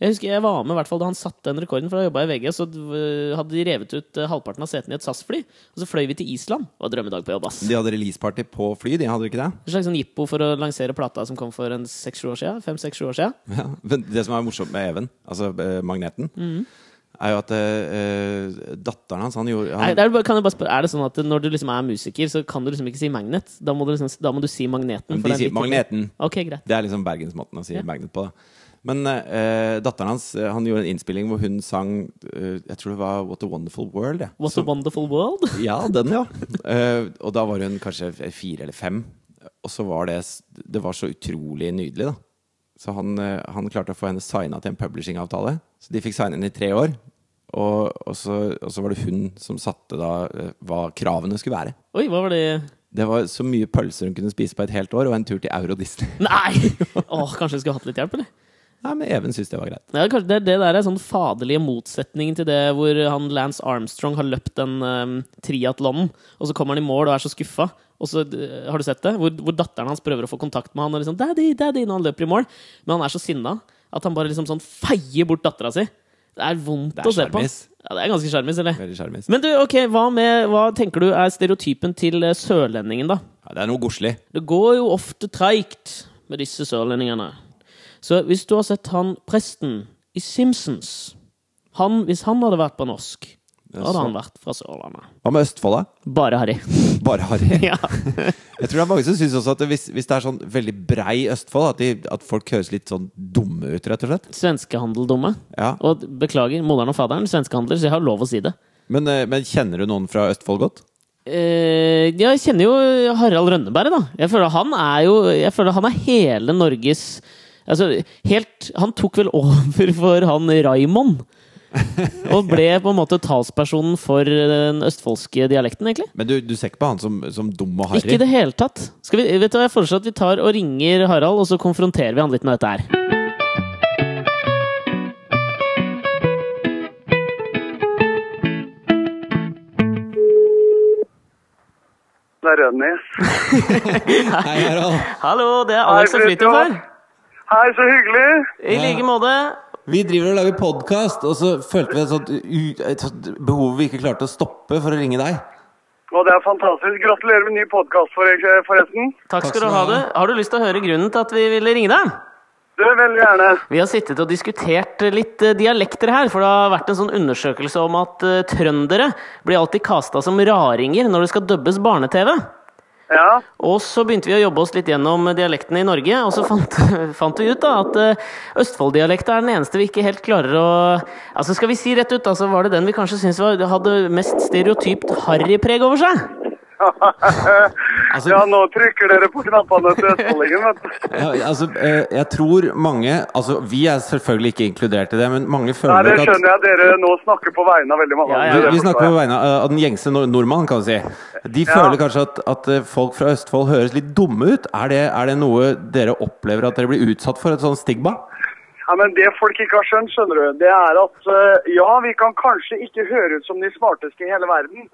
S1: Jeg husker jeg var med i hvert fall da han satte den rekorden, for da jobba jeg i VG. Så eh, hadde de revet ut eh, halvparten av setene i et SAS-fly, og så fløy vi til Island. Det var drømmedag på jobb, ass.
S2: De hadde releaseparty på fly, de hadde ikke det?
S1: En slags sånn jippo for å lansere plata som kom for en seks-sju år siden. Fem-seks-sju år siden.
S2: Ja, men det som er morsomt med Even, altså eh, magneten, er jo at eh, eh, datteren hans han gjorde,
S1: Nei,
S2: han,
S1: det er, bare- kan jeg bare spørre, er det sånn at når du liksom er musiker, så kan du liksom ikke si Magnet? Da må du, liksom, da må du si Magneten. for
S2: De
S1: den
S2: sier
S1: fikk-
S2: 'magneten'.
S1: Ok, greit.
S2: Det er liksom bergensmåten å si
S1: Ja.
S2: magnet på. da. Men eh, datteren hans eh, han gjorde en innspilling hvor hun sang eh, Jeg tror det var 'What a Wonderful World'. jeg.
S1: What a
S2: Som-
S1: wonderful world.
S2: ja, den, ja. Eh, og da var hun kanskje f- fire eller fem. Og så var det s- Det var så utrolig nydelig, da. Så han, eh, han klarte å få henne signa til en publishingavtale. Så de fikk signa henne i tre år. Og, og, så, og så var det hun som satte da eh, hva kravene skulle være.
S1: Oi, hva var det
S2: Det var så mye pølser hun kunne spise på et helt år, og en tur til Euro Disney.
S1: Nei! Åh, kanskje jeg skulle hatt litt hjelp, eller?
S2: Nei, men Even syntes det var greit.
S1: Ja, kanskje det, det der er sånn faderlige motsetningen til det hvor han Lance Armstrong har løpt den um, triatlonen, og så kommer han i mål og er så skuffa. Og så, eh, har du sett det? Hvor, hvor datteren hans prøver å få kontakt med han og liksom, daddy, daddy, når han løper i mål. Men han er så sinna at han bare liksom sånn feier bort dattera si. Det er vondt
S2: Det er
S1: å se på.
S2: sjarmis.
S1: Ja, det er ganske sjarmis, eller?
S2: Veldig sjarmis.
S1: Men du, ok, hva, med, hva tenker du er stereotypen til eh, sørlendingen, da?
S2: Ja, det er noe godslig.
S1: Det går jo ofte treigt med disse sørlendingene. Så hvis du har sett han presten i Simpsons han, Hvis han hadde vært på norsk, da hadde han vært fra Sørlandet.
S2: Hva med Østfold, da?
S1: Bare Harry.
S2: Bare Harry.
S1: ja.
S2: Jeg tror det er mange som syns også at hvis, hvis det er sånn veldig brei Østfold, at, de, at folk høres litt sånn dumme ut, rett og slett.
S1: Svenskehandel, dumme.
S2: Ja.
S1: Og beklager, moderen og faderen svenskehandler, så jeg har lov å si det.
S2: Men, eh, men kjenner du noen fra Østfold godt?
S1: Eh, ja, jeg kjenner jo Harald Rønneberg, da. Jeg føler han er jo Jeg føler han er hele Norges Altså, helt Han tok vel over for han Raymond. Og ble på en måte talspersonen for den østfoldske dialekten, egentlig.
S2: Men du, du ser ikke på han som, som dum og
S1: Ikke i
S2: harry?
S1: det hele tatt. Skal vi, vet du hva, Jeg foreslår at vi tar og ringer Harald, og så konfronterer vi han litt med dette her.
S3: Det er Rønnis.
S2: Hei, Harald.
S1: Hallo, det er Alex
S3: Hei,
S1: og Fridtjof her.
S3: Hei, så hyggelig!
S1: I like måte.
S2: Vi driver og lager podkast, og så følte vi et sånt, u- et sånt behov vi ikke klarte å stoppe for å ringe deg.
S3: Og det er fantastisk. Gratulerer med ny podkast, forresten.
S1: Takk skal du ha. du. Har du lyst til å høre grunnen til at vi ville ringe deg?
S3: Du, veldig gjerne.
S1: Vi har sittet og diskutert litt eh, dialekter her, for det har vært en sånn undersøkelse om at eh, trøndere blir alltid kasta som raringer når det skal dubbes barne-TV.
S3: Ja.
S1: Og så begynte vi å jobbe oss litt gjennom dialektene i Norge, og så fant, fant vi ut da at eh, Østfold-dialekta er den eneste vi ikke helt klarer å Altså Skal vi si rett ut, da, så var det den vi kanskje syntes var- hadde mest stereotypt harrypreg over seg.
S2: Altså,
S3: ja, nå trykker dere på knappene til Østfoldingen, vet du.
S2: ja, altså, eh, jeg tror mange Altså, vi er selvfølgelig ikke inkludert i det, men mange
S3: Nei,
S2: føler
S3: det
S2: nok at
S3: skjønner jeg. Dere nå snakker på vegne av veldig mange.
S1: Ja, ja,
S2: vi,
S1: ja.
S3: Det
S2: vi
S3: forstår
S2: snakker
S3: jeg.
S2: på vegne av av den gjengse nor- nordmann, kan du si. De føler kanskje at, at eh, folk fra Østfold høres litt dumme ut. Er det, er det noe dere opplever at dere blir utsatt for, et sånt stigma?
S3: Ja, men Det folk ikke har skjønt, skjønner du, det er at eh, ja, vi kan kanskje ikke høre ut som de smarteste i hele verden,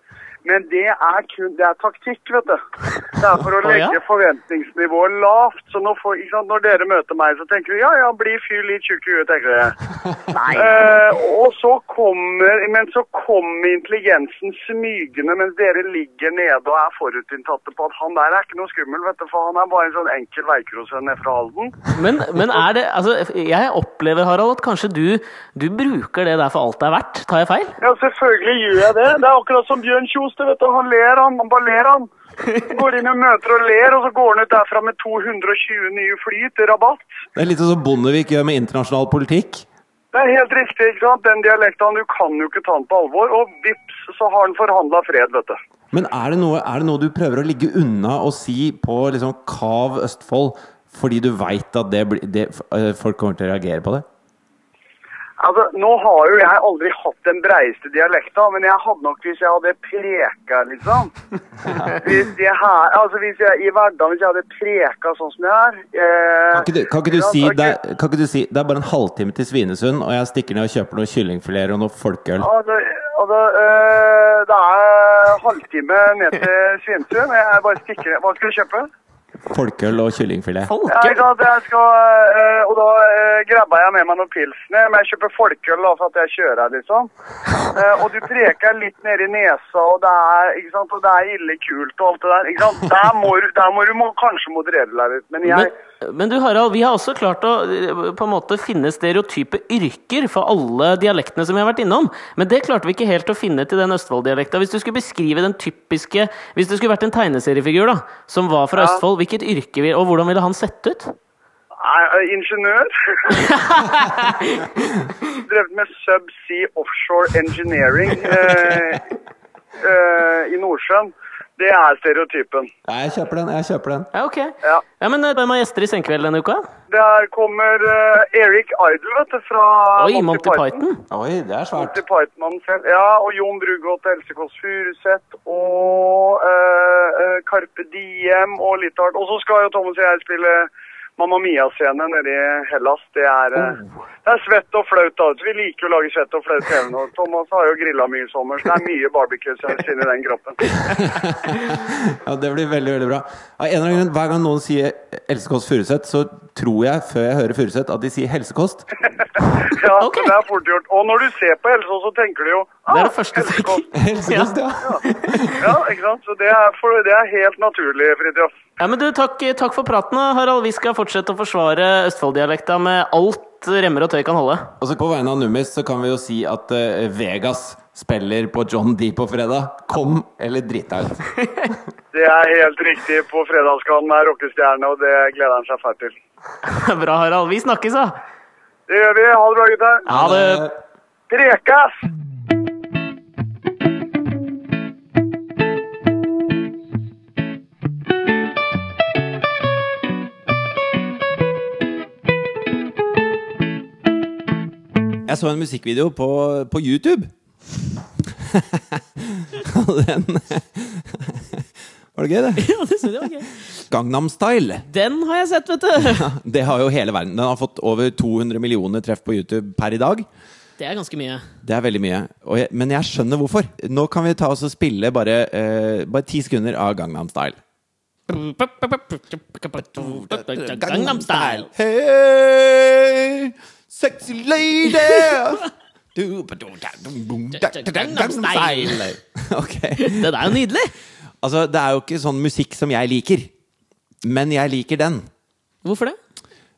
S3: men det er kun det er taktikk, vet du. Det er for å
S1: Å, ja?
S3: legge forventningsnivået lavt. Så nå får, ikke sant, når dere møter meg, så tenker du ja, ja, bli fyr litt tjukk i huet, tenker jeg.
S1: Nei.
S3: Eh, og så kommer, men så kommer intelligensen smygende mens dere ligger nede og er forutinntatte på at han der er ikke noe skummel, vet du, for han er bare en sånn enkel veikrossønn nede fra Halden.
S1: Men, men er det Altså, jeg opplever, Harald, at kanskje du, du bruker det der for alt det er verdt. Tar jeg feil?
S3: Ja, selvfølgelig gjør jeg det. Det er akkurat som Bjørn Kjos, du vet du. Han ler, han. Han bare ler, han. Går inn og møter og ler, og så går han ut derfra med 220 nye fly til rabatt.
S2: Det er litt sånn som Bondevik gjør med internasjonal politikk.
S3: Det er helt riktig, ikke sant. Den dialekten, du kan jo ikke ta den på alvor. Og vips, så har han forhandla fred, vet du.
S2: Men er det, noe, er det noe du prøver å ligge unna og si på liksom Kav Østfold fordi du veit at det, blir- det, eh, folk kommer til å reagere på det?
S3: Altså, Nå har jo jeg aldri hatt den breieste dialekta, men jeg hadde nok hvis jeg hadde preka, liksom. Hvis jeg her, altså hvis jeg i hverdagen hvis jeg hadde preka sånn som jeg er eh,
S2: Kan ikke du, kan ikke du,
S3: ja,
S2: si,
S3: takk.
S2: det, er- kan ikke du si det er bare en halvtime til Svinesund, og jeg stikker ned og kjøper noen kyllingfileter og noe folkeøl?
S3: Altså, altså øh, det er halvtime ned til Svinesund. Jeg bare stikker Hva skal du kjøpe?
S2: Folkeøl og kyllingfilet.
S3: Ja, ikke
S1: Folke?
S3: sant, jeg skal, øh, og da øh, grabba jeg med meg noen pilsner, men jeg kjøper folkeøl da, for at jeg kjører, liksom. Eh, og du preker litt nedi nesa, og det er ikke sant, og det er ille kult og alt det der. ikke sant? Der må du, der må du må, kanskje moderere deg litt. Men jeg
S1: Men, men du, Harald, vi har også klart å eh, på en måte finne stereotype yrker for alle dialektene som vi har vært innom. Men det klarte vi ikke helt å finne til den Østfold-dialekta. Hvis du skulle beskrive den typiske Hvis det skulle vært en tegneseriefigur da, som var fra Østfold, hvilket yrke vil, og hvordan ville han sett ut?
S3: er øh, ingeniør. Drevet med subsea offshore engineering eh, eh, i Nordsjøen. Det er stereotypen.
S2: Nei, jeg kjøper den. jeg kjøper den
S1: Ja, ok.
S3: Ja.
S1: Ja, men eh, Hvem har gjester i Senkveld denne uka?
S3: Der kommer eh, Eric Idle, vet du, fra
S1: Oi, Monty Python.
S2: Oi, det er
S3: Monty
S2: svært.
S3: Python-mannen selv. Ja, og Jon Brugåt, Else Kåss Furuseth og eh, eh, Carpe Diem og litt av hvert. Og så skal jo Thomas og jeg spille Mamma Mia-scene nede i Hellas. Det er, eh,
S1: Oh.
S3: det er svett og flaut. da. Vi liker jo å lage svett og flaut TV nå. Thomas har jo grilla mye i sommer, så det er mye barbecue-saus inni den kroppen.
S2: Ja, det blir veldig veldig bra. Av en eller annen grunn, Hver gang noen sier Else Kåss Furuseth, så tror jeg før jeg hører Furuseth, at de sier helsekost.
S3: Ja,
S1: Ok.
S3: Det er fort gjort. Og når du ser på Helse, så tenker du jo
S1: Det er
S3: «Ah,
S1: det første
S3: Helse Kåss».
S1: stikk.
S2: Helsekost, ja.
S3: Ja, ikke sant? Så det er, for, det er helt naturlig, Fridtjof.
S1: Ja, men du, takk, takk for praten, da, Harald. Vi skal fortsette å forsvare Østfold-dialekta med alt remmer og tøy kan holde.
S2: Og så på vegne av Nummis så kan vi jo si at eh, Vegas spiller på John D på fredag. Kom eller drit deg ut.
S3: Det er helt riktig. På fredagsganen er rockestjerne, og det gleder han seg fælt til.
S1: Bra, Harald. Vi snakkes, da.
S3: Det gjør vi. Ha det bra, gutter.
S1: Ha det.
S2: Eh,
S3: Prekas!
S2: Jeg så en musikkvideo på, på YouTube. Og den Var det gøy, det?
S1: Ja, det synes jeg var gøy.
S2: Gangnam Style.
S1: Den har jeg sett, vet du.
S2: Det har jo hele verden. Den har fått over 200 millioner treff på YouTube per i dag.
S1: Det er ganske mye.
S2: Det er veldig mye. Og jeg, men jeg skjønner hvorfor. Nå kan vi ta oss og spille bare, eh, bare ti sekunder av Gangnam Style.
S1: Gangnam Style.
S2: Hey, sexy lady!
S1: Gangnam Style.
S2: Ok.
S1: Den er jo nydelig.
S2: Altså, det er jo ikke sånn musikk som jeg liker. Men jeg liker den.
S1: Hvorfor det?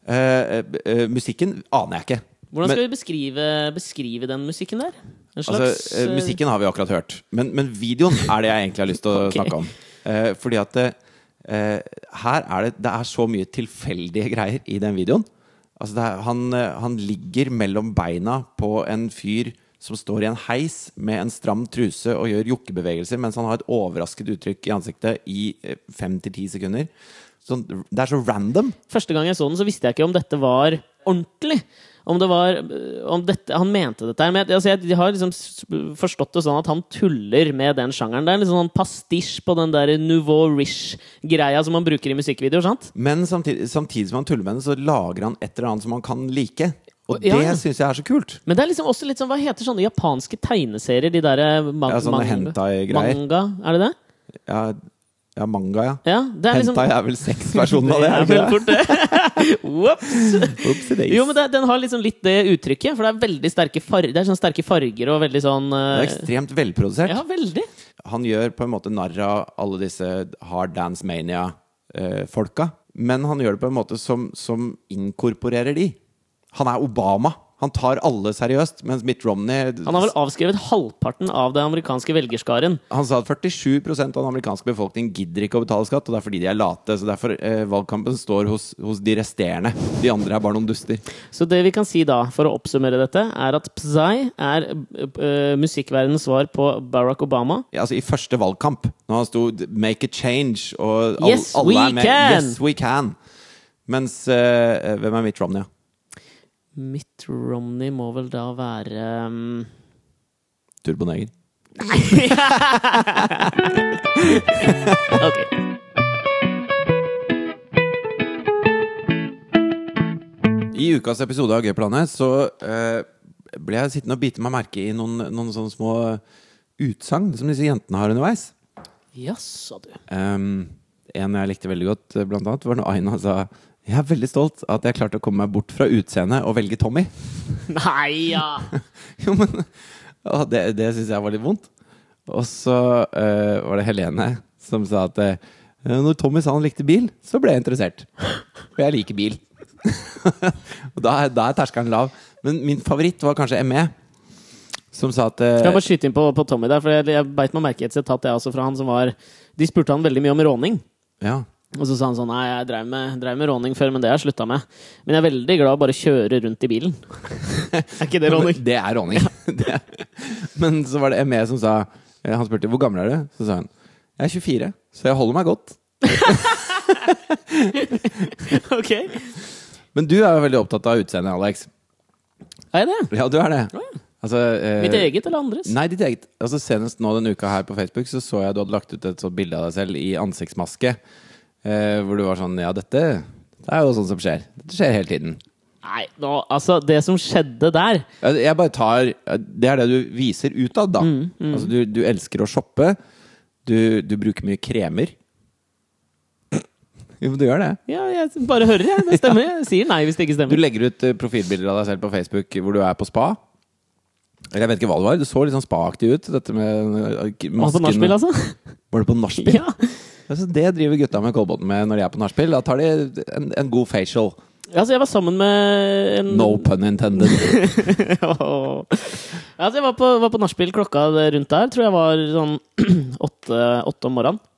S2: Eh, eh, musikken aner jeg ikke.
S1: Hvordan
S2: Men-
S1: skal vi beskrive, beskrive den musikken der? En slags
S2: Altså, eh,
S1: eh,
S2: musikken har vi akkurat hørt, men, men videoen er det jeg egentlig har lyst til å
S1: Ok.
S2: snakke om. Eh, fordi at eh, her er det, det er så mye tilfeldige greier i den videoen. Altså det er, han, eh, han ligger mellom beina på en fyr som står i en heis med en stram truse og gjør jokkebevegelser mens han har et overrasket uttrykk i ansiktet i eh, fem til ti sekunder. Sånn, det er så random.
S1: eh, Første gang jeg så den, så visste jeg ikke om dette var ordentlig. Om det var øh, om dette, Han mente dette her. Men jeg, altså jeg, jeg har liksom s- forstått det sånn at han tuller med den sjangeren. Det er en litt sånn pastisj på den der nouveau riche-greia som man bruker i musikkvideoer. sant?
S2: Men samtidig, samtidig som han tuller med det, så lager han et eller annet som han kan like. Og
S1: Ja, ja.
S2: det syns jeg er så kult.
S1: Men det er liksom også litt sånn Hva heter sånne japanske tegneserier? De derre man,
S2: Ja, sånne
S1: man-
S2: hentai-greier.
S1: Manga, er det det?
S2: Ja, ja manga, ja.
S1: Ja, det er liksom
S2: Hentai er vel sexversjonen av det? er det
S1: vel
S2: ikke det?
S1: fort det. Ops!
S2: Oopsie days.
S1: Jo, men det, den har liksom litt det uttrykket, for det er veldig sterke, far det er sånne sterke farger og veldig sånn
S2: Det er
S1: eh,
S2: ekstremt velprodusert.
S1: Ja, veldig.
S2: Han gjør på en måte narr av alle disse Hard Dance Mania-folka. Men han gjør det på en måte som, som inkorporerer de. Han er Obama. Han tar alle seriøst, mens Mitt Romney
S1: Han har vel avskrevet halvparten av den amerikanske velgerskaren.
S2: Han sa at 47 av den amerikanske befolkning gidder ikke å betale skatt, og det er fordi de er late. Så derfor eh, valgkampen står hos, hos de resterende. De andre er bare noen duster.
S1: Så det vi kan si da, for å oppsummere dette, er at Psy er uh, musikkverdenens svar på Barack Obama.
S2: Ja, altså I første valgkamp, når han sto 'Make a change' og all,
S1: Yes,
S2: alle
S1: we
S2: er med.
S1: can!
S2: Yes, we can! Mens eh, Hvem er Mitt Romney? ja?
S1: Mitt Romney må vel da være um,
S2: Turboneger.
S1: Ok.
S2: I ukas episode av Gøyplanet så eh, ble jeg sittende og bite meg merke i noen, noen sånne små utsagn som disse jentene har underveis.
S1: Jaså, du.
S2: Ehm, en jeg likte veldig godt, eh, blant annet, var når Aina sa jeg er veldig stolt at jeg klarte å komme meg bort fra utseendet og velge Tommy.
S1: Nei, ja!
S2: Jo, men å, Det, det syns jeg var litt vondt. Og så eh, var det Helene som sa at eh, når Tommy sa han likte bil, så ble jeg interessert. For jeg liker bil. Og da, er- da er terskelen lav. Men min favoritt var kanskje ME, som sa at eh,
S1: Kan jeg bare skyte inn på, på Tommy der, for jeg, jeg beit meg merke i et sitat jeg også fra han som var De spurte han veldig mye om råning.
S2: ja,
S1: Og så sa han sånn Nei, jeg drev med, drev med råning før, men det har jeg slutta med. Men jeg er veldig glad i å bare kjøre rundt i bilen. er ikke det råning?
S2: Det er E råning. Det er- Men så var det ME som sa eh, Han spurte hvor gammel er du? Så sa hun Jeg er 24, så jeg holder meg godt.
S1: ok.
S2: Men du er jo veldig opptatt av utseendet, Alex.
S1: Er jeg det?
S2: Ja, du er det. Altså, eh,
S1: Mitt eget eller andres?
S2: Nei, ditt eget. Altså, senest nå denne uka her på Facebook så så jeg du hadde lagt ut et sånt bilde av deg selv i ansiktsmaske. Eh, hvor du var sånn Ja, dette det er jo sånn som skjer. Dette skjer hele tiden.
S1: Nei, nå, altså, det som skjedde der
S2: Jeg jeg bare tar Det er det du viser utad, da.
S1: Mm,
S2: Altså, du, du elsker å shoppe. Du, du bruker mye kremer. Jo, men du gjør det.
S1: Ja, jeg bare hører, jeg. Det stemmer. Jeg sier nei hvis det ikke
S2: Du
S1: stemmer.
S2: legger ut eh, profilbilder av deg selv på Facebook hvor du er på spa. Eller jeg vet ikke hva det var. Du så litt sånn spa-aktig ut. Dette med eh,
S1: Altså
S2: masken.
S1: nachspiel, altså?
S2: Var det på nachspiel?
S1: Ja.
S2: Altså, det driver gutta med Kolbotn med når de er på nachspiel. Da tar de en, en god facial.
S1: Altså, jeg var sammen med en
S2: No pun intended.
S1: Åh. altså, jeg var på, var på nachspiel klokka rundt der. Tror jeg var sånn åtte, åtte om morgenen.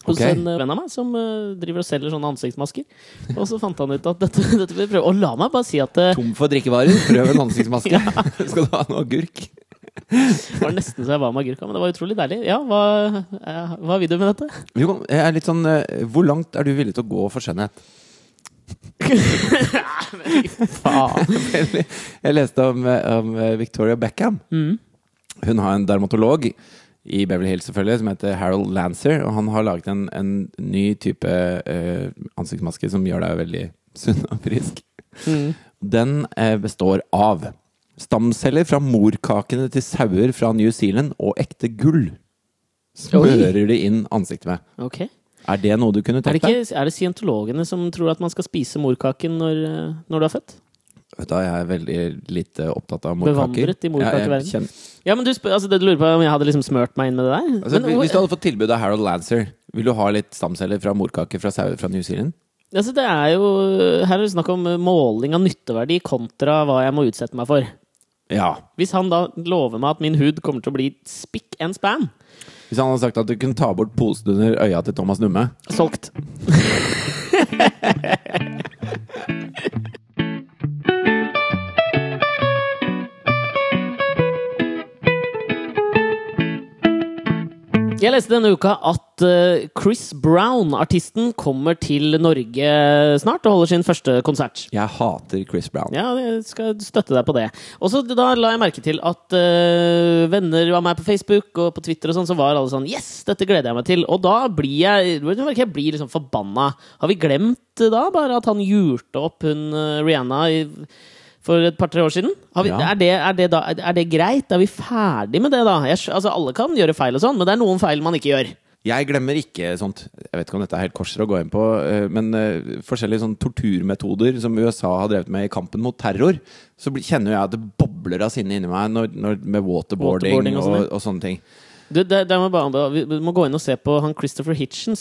S1: Hos
S2: Ok.
S1: en venn av meg som eh, driver og selger sånne ansiktsmasker. Og så fant han ut at dette, dette vil vi prøve. Og la meg bare si at eh, det
S2: Tom for drikkevarer. Prøv en ansiktsmaske. Skal du ha noe agurk?
S1: var nesten så jeg var med agurka, men det var utrolig deilig. Ja, hva, eh, hva vil du med dette?
S2: Jo, jeg er litt sånn eh, Hvor langt er du villig til å gå for skjønnhet?
S1: Faen.
S2: Eller, Jeg leste om, eh, om eh, Victoria Beckham. Hun har en dermatolog i Beverly Hills selvfølgelig, som heter Harold Lancer. Og han har laget en, en ny type eh, ansiktsmaske som gjør deg veldig sunn og frisk.
S1: Mm.
S2: Den eh, består av stamceller fra morkakene til sauer fra New Zealand og ekte gull. Smører de inn ansiktet med.
S1: Ok.
S2: Er det noe du kunne
S1: Er det,
S2: tenkt deg?
S1: ikke, er det scientologene som tror at man skal spise morkaken når, eh, når du er født?
S2: Vet du, hva, jeg er veldig lite opptatt av morkaker.
S1: Bevandret i
S2: Ja, jeg
S1: morkakeverden.
S2: kjenner-
S1: Ja, men du, spør- altså, det du lurer på er om jeg hadde liksom smørt meg inn med det der?
S2: Altså,
S1: men,
S2: hvis du hadde fått tilbud av Harold Lancer, vil du ha litt stamceller fra morkaker fra sauer fra New Zealand?
S1: Altså, det er jo, her er det snakk om eh, måling av nytteverdi kontra hva jeg må utsette meg for.
S2: Ja.
S1: Hvis han da lover meg at min hud kommer til å bli spikk and span,
S2: Hvis han hadde sagt at du kunne ta bort posen under øya til Thomas Numme.
S1: solgt. Jeg leste denne uka at eh, Chris Brown, artisten, kommer til Norge snart og holder sin første konsert.
S2: Jeg hater Chris Brown.
S1: Ja, jeg skal støtte deg på det. Og så da la jeg merke til at eh, venner av meg på Facebook og på Twitter og sånn, så var alle sånn Yes, dette gleder jeg meg til! Og da blir jeg, vet du hva, jeg blir liksom forbanna. Har vi glemt eh, da bare at han jurte opp hun eh, Rihanna i, for et par-tre år siden? Har vi,
S2: Ja.
S1: er, det, er, det da, er det greit? Er vi ferdig med det, da? Jeg, skj- altså, alle kan gjøre feil og sånn, men det er noen feil man ikke gjør.
S2: Jeg glemmer ikke sånt. Jeg vet ikke om dette er helt korser å gå inn på, eh, men eh, forskjellige sånn torturmetoder som USA har drevet med i kampen mot terror, så blir- kjenner jeg at det bobler av sinne inni meg når, når, med waterboarding,
S1: Waterboarding og
S2: og,
S1: sånn,
S2: og, sånne ting.
S1: Du, det, det må jeg bare, anbefale. vi vi må gå inn og se på han Christopher Hitchens,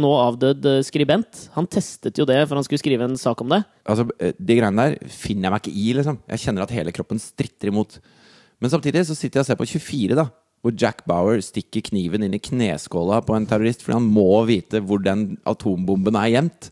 S1: nå avdød eh, skribent. Han testet jo det for han skulle skrive en sak om det.
S2: Altså, eh, De greiene der finner jeg meg ikke i. liksom Jeg kjenner at hele kroppen stritter imot. Men samtidig så sitter jeg og ser på 24, da hvor Jack Bauer stikker kniven inn i kneskåla på en terrorist fordi han må vite hvor den atombomben er gjemt.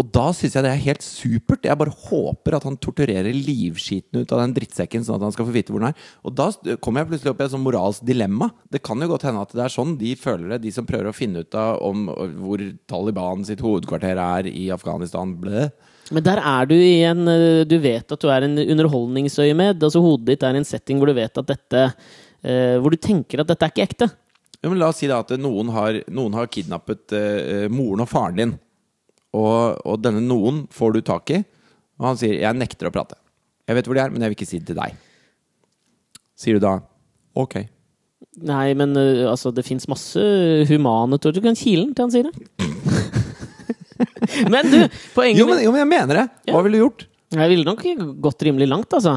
S2: Og da syns jeg det er helt supert. Jeg bare håper at han torturerer livskiten ut av den drittsekken, sånn at han skal få vite hvor den er. Og da st- kommer jeg plutselig opp i et sånn moralsk dilemma. Det kan jo godt hende at det er sånn de føler det, de som prøver å finne ut av om hvor Taliban sitt hovedkvarter er i Afghanistan. Bleh.
S1: Men der er du i en eh, Du vet at du er en underholdningsøyemed. Altså hodet ditt er i en setting hvor du vet at dette eh, Hvor du tenker at dette er ikke ekte.
S2: Ja, men la oss si da at noen har, noen har kidnappet eh, eh, moren og faren din. Og, og denne noen får du tak i, og han sier 'jeg nekter å prate'. 'Jeg vet hvor de er, men jeg vil ikke si det til deg'. Sier du da 'ok'?
S1: Nei, men eh, altså, det fins masse humane ord. Du kan kile den til han sier det. men du, poenget
S2: Jo men, jo, men jeg mener det! Hva ville du gjort?
S1: mitt Jeg ville nok gått rimelig langt, altså.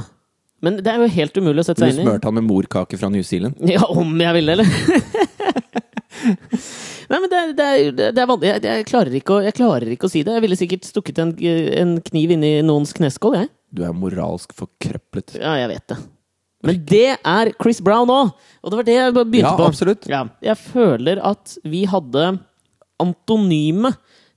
S1: Men det er jo helt umulig å sette
S2: Ville
S1: seg
S2: du
S1: inn i.
S2: smurt han med morkake fra New Zealand?
S1: Ja, om jeg ville, eller? Nei, men det er, det er, det er vanlig. Jeg, jeg, klarer ikke å, jeg klarer ikke å si det. Jeg ville sikkert stukket en, en kniv inn i noens kneskål, jeg.
S2: Du er moralsk forkrøplet.
S1: Ja, jeg vet det. Men det er Chris Brown òg! Og det var det jeg bare begynte
S2: Ja,
S1: på.
S2: absolutt.
S1: Ja. Jeg føler at vi hadde antonyme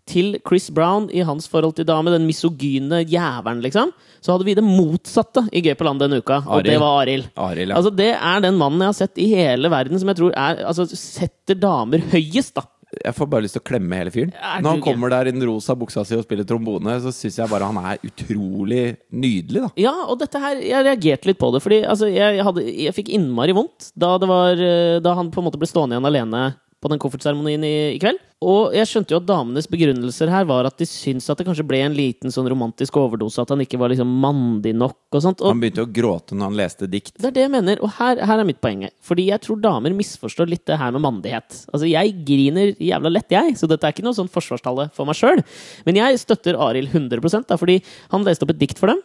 S1: til Chris Brown i hans forhold til dame, den misogyne jævelen, liksom, så hadde vi det motsatte i Gøy på land denne uka, og
S2: Arild.
S1: det var Arild.
S2: Arild, ja.
S1: Altså, det er den mannen jeg har sett i hele verden som jeg tror er, altså, setter damer høyest, da.
S2: Jeg får bare lyst til å klemme hele fyren.
S1: Er
S2: Når han
S1: du gæren?
S2: kommer der i den rosa buksa si og spiller trombone, så syns jeg bare han er utrolig nydelig, da.
S1: Ja, og dette her, jeg reagerte litt på det, fordi altså, jeg, hadde, jeg fikk innmari vondt da, det var, eh, da han på en måte ble stående igjen alene på den koffertseremonien i, i kveld. Og jeg skjønte jo at damenes begrunnelser her var at de syntes at det kanskje ble en liten sånn romantisk overdose, at han ikke var liksom mandig nok og sånt. Og
S2: Han begynte å gråte når han leste dikt.
S1: det er det jeg mener, og her, her er mitt poeng. Fordi jeg tror damer misforstår litt det her med mandighet. Altså, jeg griner jævla lett, jeg, så dette er ikke noe sånn forsvarstale for meg sjøl. Men jeg støtter Arild 100 da, fordi han leste opp et dikt for dem.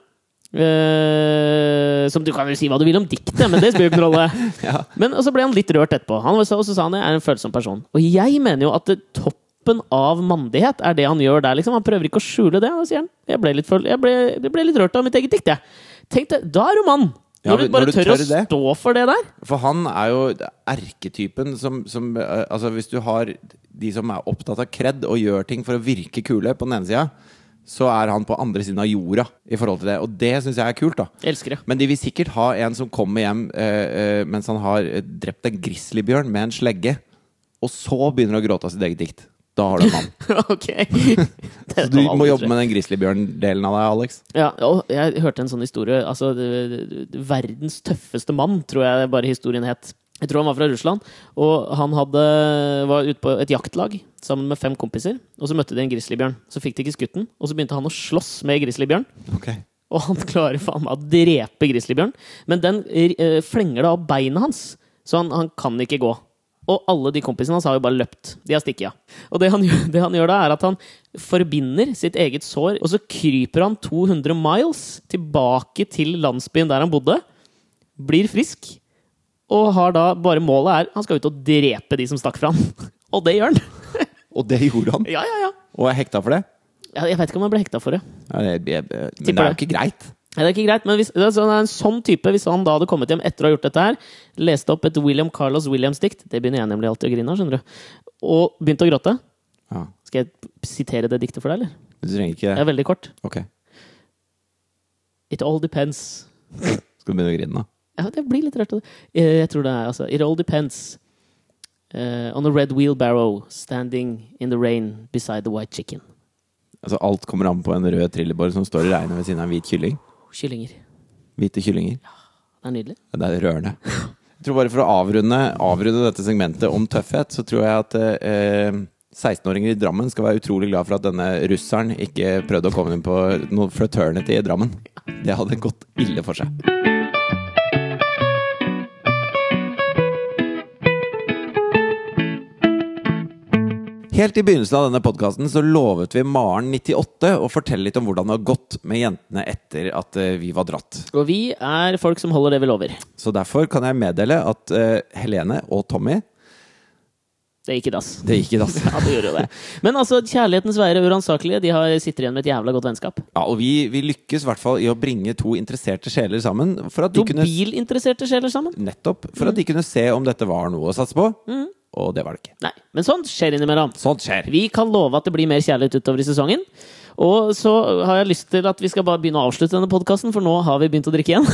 S1: Eh, som du kan jo si hva du vil om diktet, men det spiller jo ikke noen rolle. Men og så ble han litt rørt etterpå. Han var, så- og så sa han jeg er en følsom person. Og jeg mener jo at det- toppen av mandighet er det han gjør der. liksom Han prøver ikke å skjule det. Da sier han jeg ble litt, føl- jeg ble, jeg ble litt rørt av mitt eget dikt, jeg. Tenk det, Da er du mann!
S2: Ja,
S1: Når du
S2: men
S1: bare
S2: når du
S1: tør,
S2: tør
S1: å
S2: det.
S1: stå for det der.
S2: For han er jo erketypen som, som eh, Altså, hvis du har de som er opptatt av kred og gjør ting for å virke kule på den ene sida, så er han på andre siden av jorda i forhold til det. Og det syns jeg er kult, da.
S1: Jeg elsker det.
S2: Men de vil sikkert ha en som kommer hjem eh, eh, mens han har eh, drept en grizzlybjørn med en slegge, og så begynner å gråte av sitt eget dikt. Da har du en mann.
S1: ok. Det
S2: Så
S1: er
S2: du
S1: noe
S2: må
S1: annet, tror
S2: jobbe
S1: jeg.
S2: med den grizzlybjørn-delen av deg, Alex.
S1: Ja, og jeg hørte en sånn historie. Altså, det- det- det- verdens tøffeste mann, tror jeg bare historien het. Jeg tror han var fra Russland. Og han hadde, var ute på et jaktlag sammen med fem kompiser. Og så møtte de en grizzlybjørn. Så fikk de ikke skutt den, og så begynte han å slåss med grizzlybjørn. Og han klarer faen meg å drepe grizzlybjørn. Men den eh, flenger da av beinet hans, så han, han kan ikke gå. Og alle de kompisene hans har jo bare løpt. De har stikket av. Og det han, gjør, det han gjør da, er at han forbinder sitt eget sår, og så kryper han 200 miles tilbake til landsbyen der han bodde. Blir frisk. Og har da bare målet er Han skal ut og drepe de som stakk fra han. Og det gjør han!
S2: Og det gjorde han.
S1: Ja, ja, ja.
S2: Og er hekta for det.
S1: Jeg- Jeg veit ikke om han ble hekta for det.
S2: Ja, det jeg, men det
S1: Tipper
S2: er jo
S1: det.
S2: ikke greit.
S1: Nei, det er ikke greit, men hvis, det er sånn- det er en sånn type, hvis han da hadde kommet hjem etter å ha gjort dette her, leste opp et William Carlos Williams-dikt Det begynner jeg nemlig alltid å grine av, skjønner du. Og begynte å gråte.
S2: Ja,
S1: Skal jeg sitere det diktet for deg, eller?
S2: du trenger ikke
S1: Det er veldig kort.
S2: Ok.
S1: It all depends.
S2: Skal du begynne å grine, da?
S1: Ja, det blir litt rørt av det. Eh, Jeg tror det er, altså. It all depends. eh, on a red wheelbarrow standing in the rain beside the white chicken.
S2: Altså, alt kommer an på en rød trillebår som står i regnet ved siden av en hvit kylling.
S1: Kyllinger.
S2: Hvite kyllinger.
S1: Det er nydelig.
S2: Det er rørende. Jeg tror bare For å avrunde, avrunde dette segmentet om tøffhet, så tror jeg at eh, 16-åringer i Drammen skal være utrolig glad for at denne russeren ikke prøvde å komme inn på noe fraternity i Drammen. Det hadde gått ille for seg. Helt i begynnelsen av denne podkasten så lovet vi Maren 98 å fortelle litt om hvordan det har gått med jentene etter at eh, vi var dratt.
S1: Og vi er folk som holder det vi lover.
S2: Så derfor kan jeg meddele at eh, Helene og Tommy
S1: Det gikk i dass.
S2: Det gikk i dass.
S1: Ja, det gjorde jo det. Men altså, kjærlighetens veier er uransakelige. De har, sitter igjen med et jævla godt vennskap.
S2: Ja, og vi, vi lykkes i hvert fall i å bringe to interesserte sjeler sammen. For at de
S1: To Mm.
S2: kunne,
S1: bilinteresserte sjeler sammen?
S2: nettopp, for at de kunne se om dette var noe å satse på. Og det var det ikke.
S1: Nei, men sånt skjer innimellom.
S2: Sånt skjer.
S1: Mm. Vi kan love at det blir mer kjærlighet utover i sesongen. Og så har jeg lyst til at vi skal bare begynne å avslutte denne podkasten, for nå har vi begynt å drikke igjen.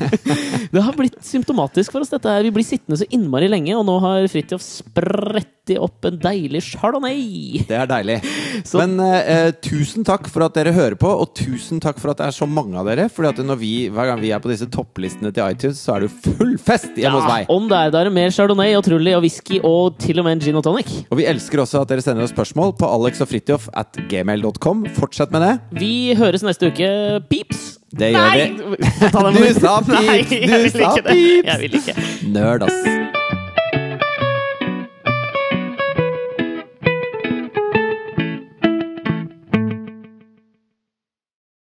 S1: det har blitt symptomatisk for oss, dette her. Vi blir sittende så innmari lenge, og nå har Fridtjof sprettet opp en deilig chardonnay.
S2: Det er deilig.
S1: Så-
S2: Men eh, eh, tusen takk for at dere hører på, og tusen takk for at det er så mange av dere. Fordi at når vi, hver gang vi er på disse topplistene til iTunes, så er det jo full fest hjemme hos meg.
S1: om det er, da er det mer chardonnay og trulli og whisky og til og med en gin og tonic.
S2: Og vi elsker også at dere sender oss spørsmål på alexogfritjof at gmail.com. Fortsett med det.
S1: Vi høres neste uke. Pips!
S2: Det gjør
S1: Nei!
S2: vi.
S1: Ta den
S2: Du
S1: med-
S2: sa pips,
S1: Nei, jeg
S2: du
S1: vil
S2: sa
S1: ikke det.
S2: pips.
S1: Jeg vil ikke.
S2: Nerd, ass.